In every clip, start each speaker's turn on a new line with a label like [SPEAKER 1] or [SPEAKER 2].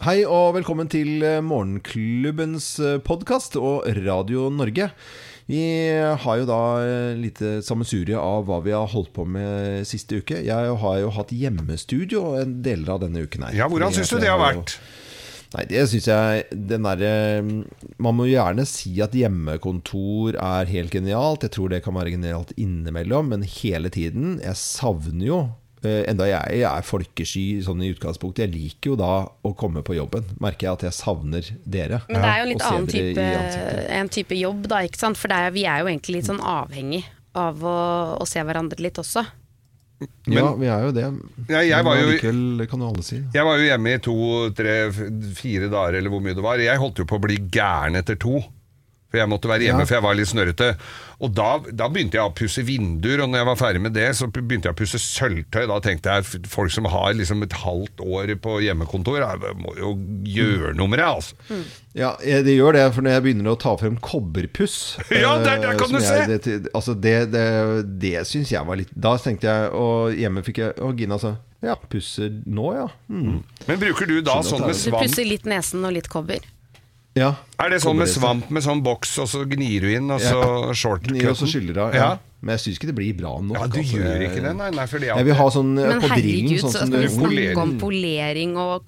[SPEAKER 1] Hei og velkommen til eh, Morgenklubbens podkast og Radio Norge. Vi har jo da eh, lite sammensurie av hva vi har holdt på med siste uke. Jeg har jo hatt hjemmestudio en deler av denne uken her.
[SPEAKER 2] Ja, hvordan
[SPEAKER 1] Fordi
[SPEAKER 2] syns
[SPEAKER 1] at
[SPEAKER 2] du
[SPEAKER 1] jeg
[SPEAKER 2] det har
[SPEAKER 1] jo-
[SPEAKER 2] vært?
[SPEAKER 1] Nei, det syns jeg den derre Man må jo gjerne si at hjemmekontor er helt genialt. Jeg tror det kan være genialt innimellom, men hele tiden. Jeg savner jo eh, Enda jeg er folkesky sånn i utgangspunktet. Jeg liker jo da å komme på jobben. Merker jeg at jeg savner dere.
[SPEAKER 3] Men det er jo en litt
[SPEAKER 1] Og se
[SPEAKER 3] annen
[SPEAKER 1] dere i
[SPEAKER 3] type,
[SPEAKER 1] ansiktet.
[SPEAKER 3] en type jobb, da. ikke sant? For det er, vi er jo egentlig litt sånn avhengig av å, å se hverandre litt også.
[SPEAKER 1] Ja, vi er jo det.
[SPEAKER 2] Ja, jeg var
[SPEAKER 1] men
[SPEAKER 2] jo-
[SPEAKER 1] allikevel kan jo alle si.
[SPEAKER 2] Jeg var jo hjemme i to, tre, f- fire dager eller hvor mye det var. Jeg holdt jo på å bli gæren etter to. For jeg måtte være hjemme,
[SPEAKER 1] Ja.
[SPEAKER 2] for jeg var litt snørrete. Og da, da begynte jeg å pusse vinduer, og når jeg var ferdig med det, så begynte jeg å pusse sølvtøy. Da tenkte jeg f- folk som har liksom et halvt år på hjemmekontor, jeg må jo gjøre noe med det, altså.
[SPEAKER 1] Mm. Ja, jeg- det gjør det, for når jeg begynner å ta frem kobberpuss
[SPEAKER 2] Ja, der- der
[SPEAKER 1] eh,
[SPEAKER 2] kan du
[SPEAKER 1] som jeg,
[SPEAKER 2] se!
[SPEAKER 1] Det, altså det, det, det syns jeg var litt Da tenkte jeg, og hjemme fikk jeg Og Gina sa ja, pusser nå, ja. Hmm.
[SPEAKER 2] Mm. Men bruker du da sånn med
[SPEAKER 3] Du
[SPEAKER 2] svamp?
[SPEAKER 3] pusser litt nesen og litt kobber.
[SPEAKER 1] ja.
[SPEAKER 2] Er det sånn med
[SPEAKER 1] Kobberrester.
[SPEAKER 2] svamp med sånn boks, og så gnir du inn, og så shortcutten?
[SPEAKER 1] Gnir og så skyller av. Ja.
[SPEAKER 2] Ja.
[SPEAKER 1] Men jeg syns ikke det blir bra nok.
[SPEAKER 2] Ja, du
[SPEAKER 1] altså.
[SPEAKER 2] gjør ikke det, nei. nei fordi at-
[SPEAKER 1] Jeg vil ha sånn eh,
[SPEAKER 3] Men
[SPEAKER 1] på
[SPEAKER 3] herregud,
[SPEAKER 1] drillen, sånn
[SPEAKER 3] så
[SPEAKER 1] som
[SPEAKER 3] skal vi
[SPEAKER 1] du
[SPEAKER 2] polerer.
[SPEAKER 3] snakke om polering og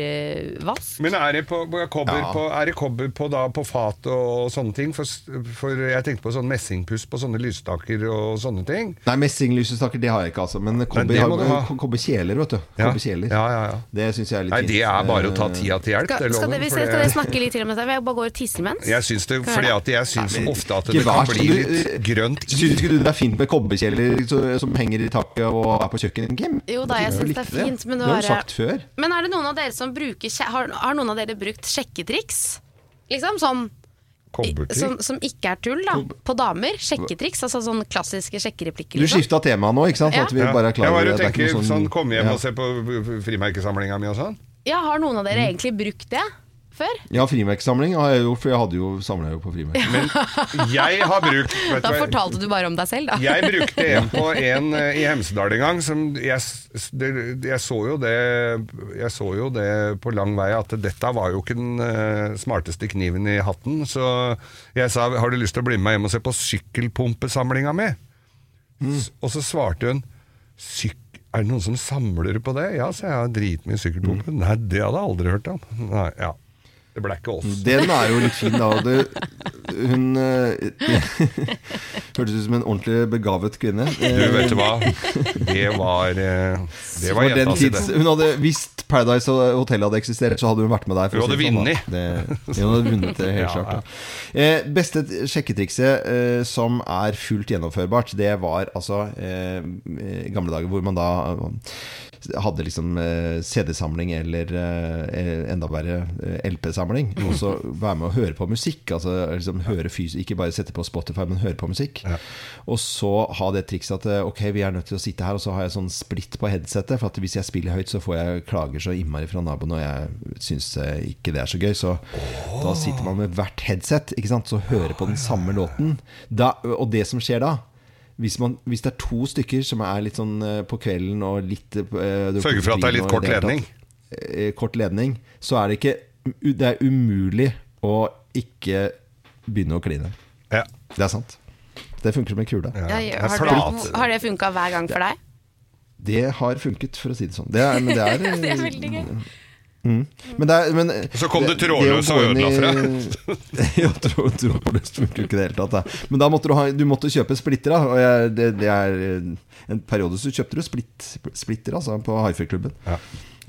[SPEAKER 3] kobbervask.
[SPEAKER 2] Men er det, på, på- kobber,
[SPEAKER 1] Ja.
[SPEAKER 2] på, er det kobber på, da, på fat og, og sånne ting? For, s- for jeg tenkte på sånn messingpuss på sånne lysstaker og sånne ting.
[SPEAKER 1] Nei, messinglysestaker, det har jeg ikke, altså. Men kobber,
[SPEAKER 2] det må du ha.
[SPEAKER 1] har- eh, kobberkjeler, vet du.
[SPEAKER 2] Ja.
[SPEAKER 1] Kobberkjeler.
[SPEAKER 2] Ja, ja, ja.
[SPEAKER 1] Det syns jeg er litt
[SPEAKER 2] Nei, det er bare å ta
[SPEAKER 1] Eh,
[SPEAKER 2] tida til hjelp.
[SPEAKER 3] Skal,
[SPEAKER 2] det
[SPEAKER 3] skal,
[SPEAKER 2] lover,
[SPEAKER 3] dere,
[SPEAKER 2] for
[SPEAKER 3] skal
[SPEAKER 2] det-
[SPEAKER 3] dere snakke litt til om dette? Jeg bare går og tisser imens.
[SPEAKER 2] Jeg syns det, fordi at jeg syns ofte at det
[SPEAKER 1] Ikke
[SPEAKER 2] kan
[SPEAKER 1] vær så-
[SPEAKER 2] bli litt
[SPEAKER 1] du-
[SPEAKER 2] grønt i
[SPEAKER 1] Syns ikke du det er fint med kobberkjeller så- som henger i taket og er på kjøkkenet, Kim?
[SPEAKER 3] Jo da, jeg syns det er
[SPEAKER 1] likte
[SPEAKER 3] fint, men
[SPEAKER 1] det
[SPEAKER 3] det
[SPEAKER 1] har
[SPEAKER 3] var eh,
[SPEAKER 1] du sagt før.
[SPEAKER 3] Men er det noen av dere som bruker kje- Har, har noen av dere brukt sjekketriks? Liksom sånn som,
[SPEAKER 2] kobberting.
[SPEAKER 3] som ikke er tull, da. På damer. Sjekketriks. Altså sånn klassiske sjekkereplikker.
[SPEAKER 1] Du
[SPEAKER 3] Liksom.
[SPEAKER 1] skifta tema nå, ikke sant?
[SPEAKER 3] Ja.
[SPEAKER 1] At vi
[SPEAKER 2] Ja.
[SPEAKER 1] bare er klar
[SPEAKER 2] Jeg
[SPEAKER 1] over
[SPEAKER 2] bare
[SPEAKER 1] det. Det er ikke
[SPEAKER 2] tenker
[SPEAKER 1] noe
[SPEAKER 2] sånn Kom hjem
[SPEAKER 1] ja.
[SPEAKER 2] og se på frimerkesamlinga mi og sånn.
[SPEAKER 3] Ja, har noen av
[SPEAKER 2] Mm.
[SPEAKER 3] dere egentlig brukt det før?
[SPEAKER 1] Ja, frimerkesamling har jeg gjort, for jeg hadde jo samla jo på frimerker.
[SPEAKER 2] Men jeg har brukt vet du
[SPEAKER 3] Da
[SPEAKER 2] hva-
[SPEAKER 3] fortalte du bare om deg selv, da.
[SPEAKER 2] Jeg brukte en på en eh, i Hemsedal en gang. Som jeg, s- s- det, jeg, så jo det, jeg så jo det på lang vei at dette var jo ikke den eh, smarteste kniven i hatten. Så jeg sa har du lyst til å bli med meg hjem og se på sykkelpumpesamlinga mi?
[SPEAKER 1] Mm.
[SPEAKER 2] S- Og så svarte hun syk er det noen som samler på det? Ja, så jeg har dritmye sykkelpumper.
[SPEAKER 1] Mm.
[SPEAKER 2] Nei, det hadde jeg aldri hørt om. Nei, ja. Det ble ikke oss.
[SPEAKER 1] Den er jo litt fin, da. Det, hun eh, hørtes ut som en ordentlig begavet kvinne. Eh,
[SPEAKER 2] Du, vet du hva? Det var eh, Det var
[SPEAKER 1] for den
[SPEAKER 2] jenta si, det.
[SPEAKER 1] tids, hun hadde, hvis Paradise Hotel hadde eksistert, så hadde hun vært med deg. for
[SPEAKER 2] Hun
[SPEAKER 1] å
[SPEAKER 2] hadde
[SPEAKER 1] si det sånn, da. Det, hun hadde vunnet det, helt
[SPEAKER 2] Ja,
[SPEAKER 1] klart. da. Eh, beste t- sjekketrikset eh, som er fullt gjennomførbart, det var altså eh, i gamle dager hvor man da eh, hadde liksom eh, CD-samling eller eh, enda verre eh, LP-samling. Og så være med å høre på musikk. Altså liksom høre fys Ikke bare sette på Spotify, men høre på musikk. Og så ha det trikset at eh, ok, vi er nødt til å sitte her, og så har jeg sånn splitt på headsetet. For at hvis jeg spiller høyt, så får jeg klager så innmari fra naboen, og jeg syns eh, ikke det er så gøy. Så da sitter man med hvert headset ikke sant? så hører på den samme låten. Da, og det som skjer da hvis, man, hvis det er to stykker som er litt sånn eh, på kvelden og litt eh,
[SPEAKER 2] Sørge for at det er litt
[SPEAKER 1] og i
[SPEAKER 2] kort
[SPEAKER 1] hele tatt,
[SPEAKER 2] ledning.
[SPEAKER 1] eh, Kort ledning, så er det ikke u- Det er umulig å ikke begynne å kline.
[SPEAKER 2] Ja.
[SPEAKER 1] Det er sant. Det funker som en kule.
[SPEAKER 3] Ja,
[SPEAKER 2] Det er
[SPEAKER 3] har,
[SPEAKER 2] flat.
[SPEAKER 3] du, har det funka hver gang for deg?
[SPEAKER 1] Det har funket, for å si det sånn. Det er, men det er,
[SPEAKER 3] Det er veldig gøy.
[SPEAKER 1] men det er, men,
[SPEAKER 2] Så kom det
[SPEAKER 1] å
[SPEAKER 2] trådløs
[SPEAKER 1] gå
[SPEAKER 2] og
[SPEAKER 1] inn i-
[SPEAKER 2] ødela
[SPEAKER 1] ja, trå, trådløst funker jo ikke i det hele tatt. Da. Men da måtte du, ha, du måtte kjøpe splitter. Da, og jeg, det, det er eh, en periode så kjøpte du splitt, splitter altså, på Hifi-klubben.
[SPEAKER 2] Ja.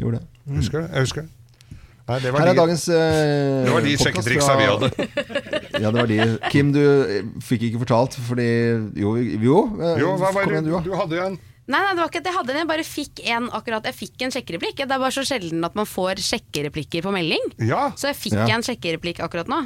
[SPEAKER 1] Gjorde det.
[SPEAKER 2] Husker du? Jeg husker det. Nei, det var
[SPEAKER 1] Her er
[SPEAKER 2] de,
[SPEAKER 1] dagens eh,
[SPEAKER 2] det var de
[SPEAKER 1] podcast
[SPEAKER 2] sjekketriksa
[SPEAKER 1] fra-
[SPEAKER 2] vi hadde.
[SPEAKER 1] Ja, det var de. Kim, du eh, fikk ikke fortalt, fordi Jo, jo, eh,
[SPEAKER 2] Jo, hva var
[SPEAKER 1] kom
[SPEAKER 2] det?
[SPEAKER 1] igjen, du, da.
[SPEAKER 2] Du hadde jo en
[SPEAKER 3] Nei, nei, det var ikke at jeg hadde den. Jeg bare fikk en akkurat Jeg fikk en sjekkereplikk. Det er bare så sjelden at man får sjekkereplikker på melding.
[SPEAKER 2] Ja!
[SPEAKER 3] Så jeg fikk
[SPEAKER 1] Ja.
[SPEAKER 3] en sjekkereplikk akkurat nå.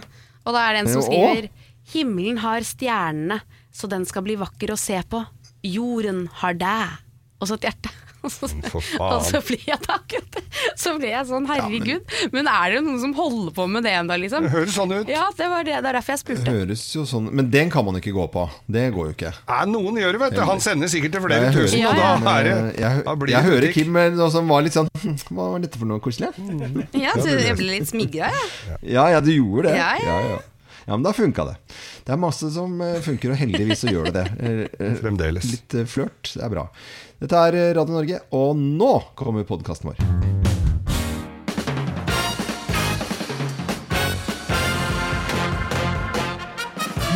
[SPEAKER 3] Og da er det en som
[SPEAKER 1] Jo,
[SPEAKER 3] skriver Himmelen har stjernene, så den skal bli vakker å se på. Jorden har deg. Og så et hjerte. Og så,
[SPEAKER 2] For faen.
[SPEAKER 3] og så ble jeg det akkurat det. Så ble jeg sånn, herregud. men... er det jo noen som holder på med det ennå, liksom?
[SPEAKER 2] Det høres sånn ut.
[SPEAKER 3] Ja, det var det. Det er derfor jeg spurte.
[SPEAKER 4] Høres jo sånn Men den kan man ikke gå på. Det går jo ikke.
[SPEAKER 2] Nei, noen gjør det, vet du. Han sender sikkert til flere
[SPEAKER 4] Jeg hører
[SPEAKER 2] tusen,
[SPEAKER 3] ikke,
[SPEAKER 2] og
[SPEAKER 4] Men,
[SPEAKER 2] da er det
[SPEAKER 4] eh, jeg,
[SPEAKER 2] da blir
[SPEAKER 4] jeg
[SPEAKER 2] det
[SPEAKER 4] hører
[SPEAKER 2] butikk.
[SPEAKER 4] Kim eh, nå som var litt sånn «Hm, Hva var dette for noe koselig?
[SPEAKER 3] Ja, så jeg ble litt smigra, jeg.
[SPEAKER 4] Ja, ja, du gjorde det.
[SPEAKER 3] Ja, ja,
[SPEAKER 4] ja. Ja, men da funka det. Det er masse som eh, funker, og heldigvis så gjør det det. Eh, eh,
[SPEAKER 2] Fremdeles.
[SPEAKER 4] Litt eh, flørt, det er bra. Dette er eh, Radio Norge, og nå kommer podkasten vår.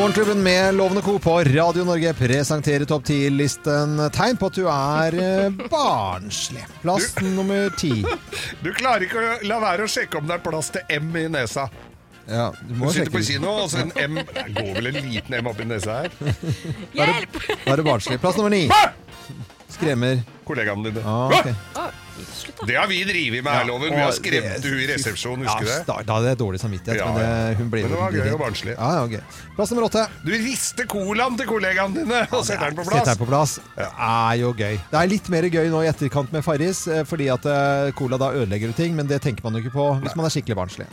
[SPEAKER 4] Morgenklubben med Lovende Co. på Radio Norge presenterer topp 10-listen tegn på at du er eh, barnslig. Plass nummer ti.
[SPEAKER 2] Du klarer ikke å la være å sjekke om det er plass til M i nesa.
[SPEAKER 4] Ja, du
[SPEAKER 2] Du
[SPEAKER 4] må
[SPEAKER 2] sitter
[SPEAKER 4] sjekke
[SPEAKER 2] på
[SPEAKER 4] litt.
[SPEAKER 2] kino, og så en M Det går vel en liten M oppi nesa her?
[SPEAKER 3] Hjelp!
[SPEAKER 4] Da er du barnslig. Plass nummer ni. Skremmer.
[SPEAKER 2] Kollegaene dine.
[SPEAKER 4] Ah, ok.
[SPEAKER 2] Det har vi drevet med her, Loven. Vi har skremt henne i resepsjonen, husker du
[SPEAKER 1] Ja,
[SPEAKER 2] det?
[SPEAKER 1] sta- da hadde jeg dårlig samvittighet.
[SPEAKER 2] Ja,
[SPEAKER 1] men
[SPEAKER 2] ja.
[SPEAKER 1] det, hun ble
[SPEAKER 2] Men det var
[SPEAKER 1] hun ble
[SPEAKER 2] gøy og
[SPEAKER 1] redd.
[SPEAKER 2] barnslig.
[SPEAKER 1] Ja, ja, ok. Plass nummer åtte.
[SPEAKER 2] Du rister colaen til kollegaene dine og setter den på
[SPEAKER 1] Sett
[SPEAKER 2] plass.
[SPEAKER 1] deg på plass. Det er jo gøy. Det er litt mer gøy nå i etterkant med Farris, eh, fordi at eh, cola da ødelegger jo ting, men det tenker man jo ikke på hvis man er skikkelig barnslig.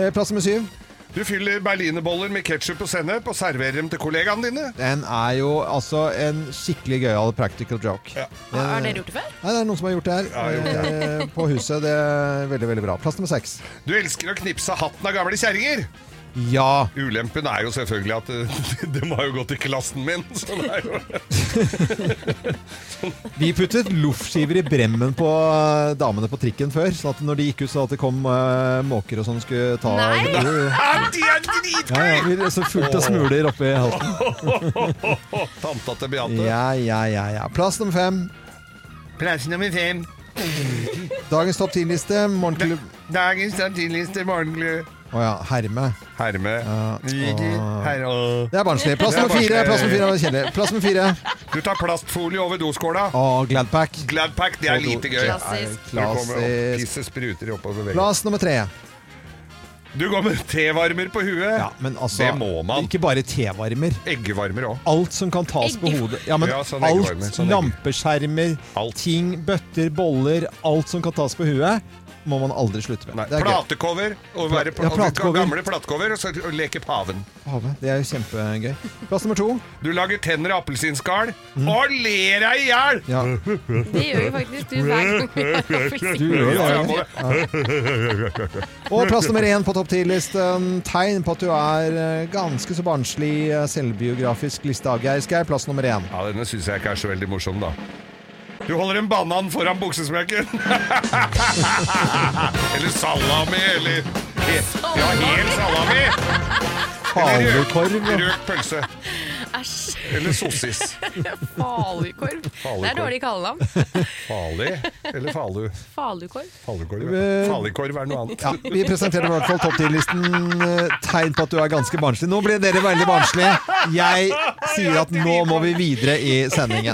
[SPEAKER 1] Eh, Plass nummer syv.
[SPEAKER 2] Du fyller berlinerboller med ketsjup og sennep og serverer dem til kollegaene dine.
[SPEAKER 1] Den er jo altså en skikkelig gøyal practical joke.
[SPEAKER 2] Ja.
[SPEAKER 3] Har dere gjort det før?
[SPEAKER 1] Nei, det er noen som har gjort det her.
[SPEAKER 2] jeg har
[SPEAKER 1] eh, På huset. Det er veldig, veldig bra. Plass nummer seks.
[SPEAKER 2] Du elsker å knipse hatten av gamle kjerringer.
[SPEAKER 1] Ja.
[SPEAKER 2] Ulempen er jo selvfølgelig at eh, de har jo gått i klassen min. Så det er jo
[SPEAKER 1] Vi puttet loffskiver i bremmen på eh, damene på trikken før, sånn at når de gikk ut, så at det kom eh, måker og sånn skulle ta
[SPEAKER 3] Nei!
[SPEAKER 1] Jo, jo.
[SPEAKER 2] Ah, De er
[SPEAKER 1] Ja, ja,
[SPEAKER 2] dritgøy!
[SPEAKER 1] vi er så fullt av smuler oppi halsen.
[SPEAKER 2] Tanta til Beate.
[SPEAKER 1] Ja, ja, ja, ja. Plass nummer fem.
[SPEAKER 2] Plass nummer fem.
[SPEAKER 1] Dagens topp 10-liste. Morgenklubb
[SPEAKER 2] Dagens samtidligste morgenklubb.
[SPEAKER 1] Å ja, herme.
[SPEAKER 2] Herme.
[SPEAKER 1] åh.
[SPEAKER 2] Herre.
[SPEAKER 1] Det er barnslig. Plass
[SPEAKER 2] Det er
[SPEAKER 1] nummer fire.
[SPEAKER 2] barnslig.
[SPEAKER 1] Plass nummer fire, det var kjedelig. Plass nummer fire.
[SPEAKER 2] Du tar plastfolie over doskåla.
[SPEAKER 1] Å, Gladpack.
[SPEAKER 2] Gladpack, det er lite gøy.
[SPEAKER 3] Klassisk.
[SPEAKER 2] Du kommer og
[SPEAKER 1] Klassisk.
[SPEAKER 2] pisset spruter oppover veggen.
[SPEAKER 1] Plass nummer tre.
[SPEAKER 2] Du går med tevarmer på huet.
[SPEAKER 1] Ja, men altså
[SPEAKER 2] Det må man.
[SPEAKER 1] Ikke bare tevarmer.
[SPEAKER 2] Eggevarmer òg.
[SPEAKER 1] Alt som kan tas på
[SPEAKER 3] Egg.
[SPEAKER 1] hodet. Ja, men
[SPEAKER 2] Ja, sånn
[SPEAKER 1] alt.
[SPEAKER 2] eggevarmer, sånn egg.
[SPEAKER 1] lampeskjermer,
[SPEAKER 2] Alt.
[SPEAKER 1] ting, bøtter, boller. Alt som kan tas på huet, må man aldri slutte med. Det er gøy.
[SPEAKER 2] Platecover. Og være
[SPEAKER 1] Ja,
[SPEAKER 2] pla
[SPEAKER 1] platecover.
[SPEAKER 2] Gamle platecover, og så og leke paven.
[SPEAKER 1] Pave, Det er jo kjempegøy. Plass nummer to.
[SPEAKER 2] Du lager tenner av appelsinskall
[SPEAKER 1] Mm.
[SPEAKER 2] og ler deg i hjel!
[SPEAKER 1] Ja,
[SPEAKER 3] Det gjør jo faktisk du hver gang vi har
[SPEAKER 1] du
[SPEAKER 3] appelsin.
[SPEAKER 1] gjør
[SPEAKER 2] Ja,
[SPEAKER 1] det.
[SPEAKER 2] ja, må-
[SPEAKER 1] Og plass nummer én på topp ti-listen. Tegn på at du er eh, ganske så barnslig eh, selvbiografisk liste av Geir Skei. Plass nummer én.
[SPEAKER 2] ja, denne syns jeg ikke er så veldig morsom, da. Du holder en banan foran buksesmekken. eller salami, eller Ja, hel salami! Eller røkt-
[SPEAKER 1] Falukorv.
[SPEAKER 2] Røkt pølse.
[SPEAKER 3] Æsj.
[SPEAKER 2] Eller sossis.
[SPEAKER 3] Falukorv. Det er dårlig kallenavn.
[SPEAKER 2] Fali eller falu?
[SPEAKER 3] Falukorv.
[SPEAKER 2] Falukorv.
[SPEAKER 1] Eh,
[SPEAKER 2] Falikorv er noe annet.
[SPEAKER 1] Ja, vi presenterer i hvert fall topp ti-listen. eh, Tegn på at du er ganske barnslig. Nå ble dere veldig barnslige. Jeg sier at nå må vi videre i sendingen.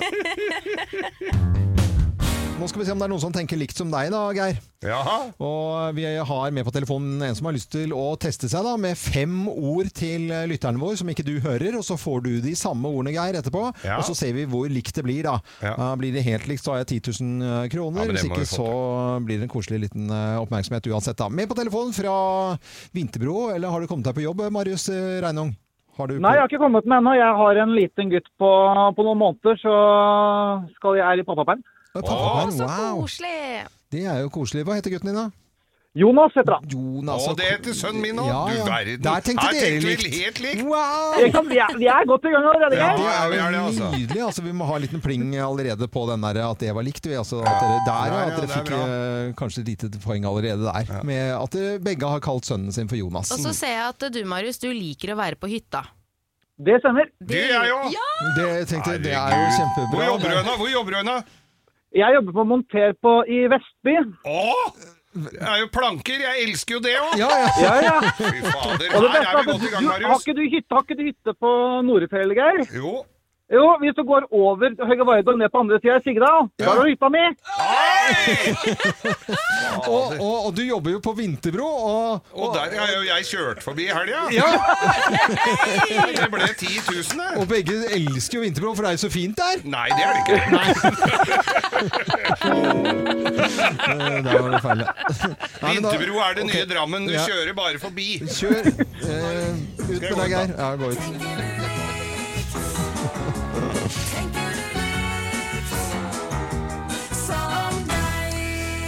[SPEAKER 1] Nå skal vi se om det er noen som tenker likt som deg da, Geir.
[SPEAKER 2] Jaha.
[SPEAKER 1] Og vi har med på telefonen en som har lyst til å teste seg da, med fem ord til lytteren vår som ikke du hører, og så får du de samme ordene, Geir, etterpå.
[SPEAKER 2] Ja.
[SPEAKER 1] Og så ser vi hvor likt det blir, da.
[SPEAKER 2] Ja.
[SPEAKER 1] Eh, Blir det helt likt, så har jeg 10 000 kroner.
[SPEAKER 2] Ja, men det
[SPEAKER 1] Hvis
[SPEAKER 2] må vi
[SPEAKER 1] ikke,
[SPEAKER 2] få
[SPEAKER 1] så blir det en koselig liten eh, oppmerksomhet uansett, da. Med på telefonen fra Vinterbro, eller har du kommet deg på jobb, Marius eh, Reinung? Har du
[SPEAKER 5] Nei, jeg har ikke kommet med ennå. Jeg har en liten gutt på, på noen måneder, så skal jeg er i pappaperm.
[SPEAKER 1] Å,
[SPEAKER 3] Å,
[SPEAKER 1] pappaperm,
[SPEAKER 3] så
[SPEAKER 1] wow!
[SPEAKER 3] koselig!
[SPEAKER 1] Det er jo koselig. Hva heter gutten din, da?
[SPEAKER 5] Jonas heter han.
[SPEAKER 1] Jonas.
[SPEAKER 2] Å, det heter sønnen min òg!
[SPEAKER 1] altså, Ja, ja.
[SPEAKER 2] Du verden.
[SPEAKER 1] Der tenkte
[SPEAKER 2] Her
[SPEAKER 1] dere
[SPEAKER 2] tenkte vi
[SPEAKER 1] likt.
[SPEAKER 2] helt likt.
[SPEAKER 1] Wow!
[SPEAKER 5] Jeg kan- Vi er, vi er godt i gang allerede,
[SPEAKER 2] Ja.
[SPEAKER 5] Geir.
[SPEAKER 1] Det er
[SPEAKER 2] vi
[SPEAKER 1] jo
[SPEAKER 2] er det, altså.
[SPEAKER 1] nydelig. Altså, vi må ha en liten pling allerede på den der at det var likt. Vi, altså, at dere,
[SPEAKER 2] Ja,
[SPEAKER 1] der,
[SPEAKER 2] ja,
[SPEAKER 1] at
[SPEAKER 2] det
[SPEAKER 1] dere
[SPEAKER 2] er
[SPEAKER 1] fikk
[SPEAKER 2] bra.
[SPEAKER 1] eh, kanskje et lite poeng allerede der. Med at dere begge har kalt sønnen sin for Jonas. Mm.
[SPEAKER 3] Og så ser jeg at du, Marius, du liker å være på hytta.
[SPEAKER 5] Det stemmer.
[SPEAKER 2] Du, jeg òg!
[SPEAKER 1] Det, jeg tenkte, det er jo
[SPEAKER 2] Herregud. Hvor
[SPEAKER 1] kjempebra.
[SPEAKER 2] jobber du henne? Hvor jobber du henne?
[SPEAKER 5] Jeg jobber på Monter på, i Vestby.
[SPEAKER 2] Å! Det er jo planker! Jeg elsker jo det òg!
[SPEAKER 1] Ja, ja.
[SPEAKER 5] Ja, ja.
[SPEAKER 2] Fy fader,
[SPEAKER 5] Og det
[SPEAKER 2] her er
[SPEAKER 5] beste er
[SPEAKER 2] vi
[SPEAKER 5] at
[SPEAKER 2] godt i
[SPEAKER 5] du,
[SPEAKER 2] gang,
[SPEAKER 5] har
[SPEAKER 2] Marius.
[SPEAKER 5] ikke du hytte, har ikke du hytte på Norefjell, Geir?
[SPEAKER 2] Jo.
[SPEAKER 5] Jo, hvis du går over Høge Vardø og ned på andre sida av Sigdal, der har du hytta mi.
[SPEAKER 2] Ai!
[SPEAKER 1] Og, og, og du jobber jo på Vinterbro, og,
[SPEAKER 2] Og der har jo jeg kjørt forbi i helga!
[SPEAKER 1] ja,
[SPEAKER 2] Det ble 10 000, det.
[SPEAKER 1] og begge elsker jo Vinterbro, for det er jo så fint der.
[SPEAKER 2] Nei, det er det ikke.
[SPEAKER 1] Eh, Der var det feil. ja. Nei, men da-
[SPEAKER 2] Vinterbro er det nye
[SPEAKER 1] ok.
[SPEAKER 2] Drammen. Du
[SPEAKER 1] Ja.
[SPEAKER 2] kjører bare forbi.
[SPEAKER 1] Kjør eh, ut
[SPEAKER 2] jeg
[SPEAKER 1] med
[SPEAKER 2] gå
[SPEAKER 1] deg,
[SPEAKER 2] ut
[SPEAKER 1] Geir. Ja, gå ut.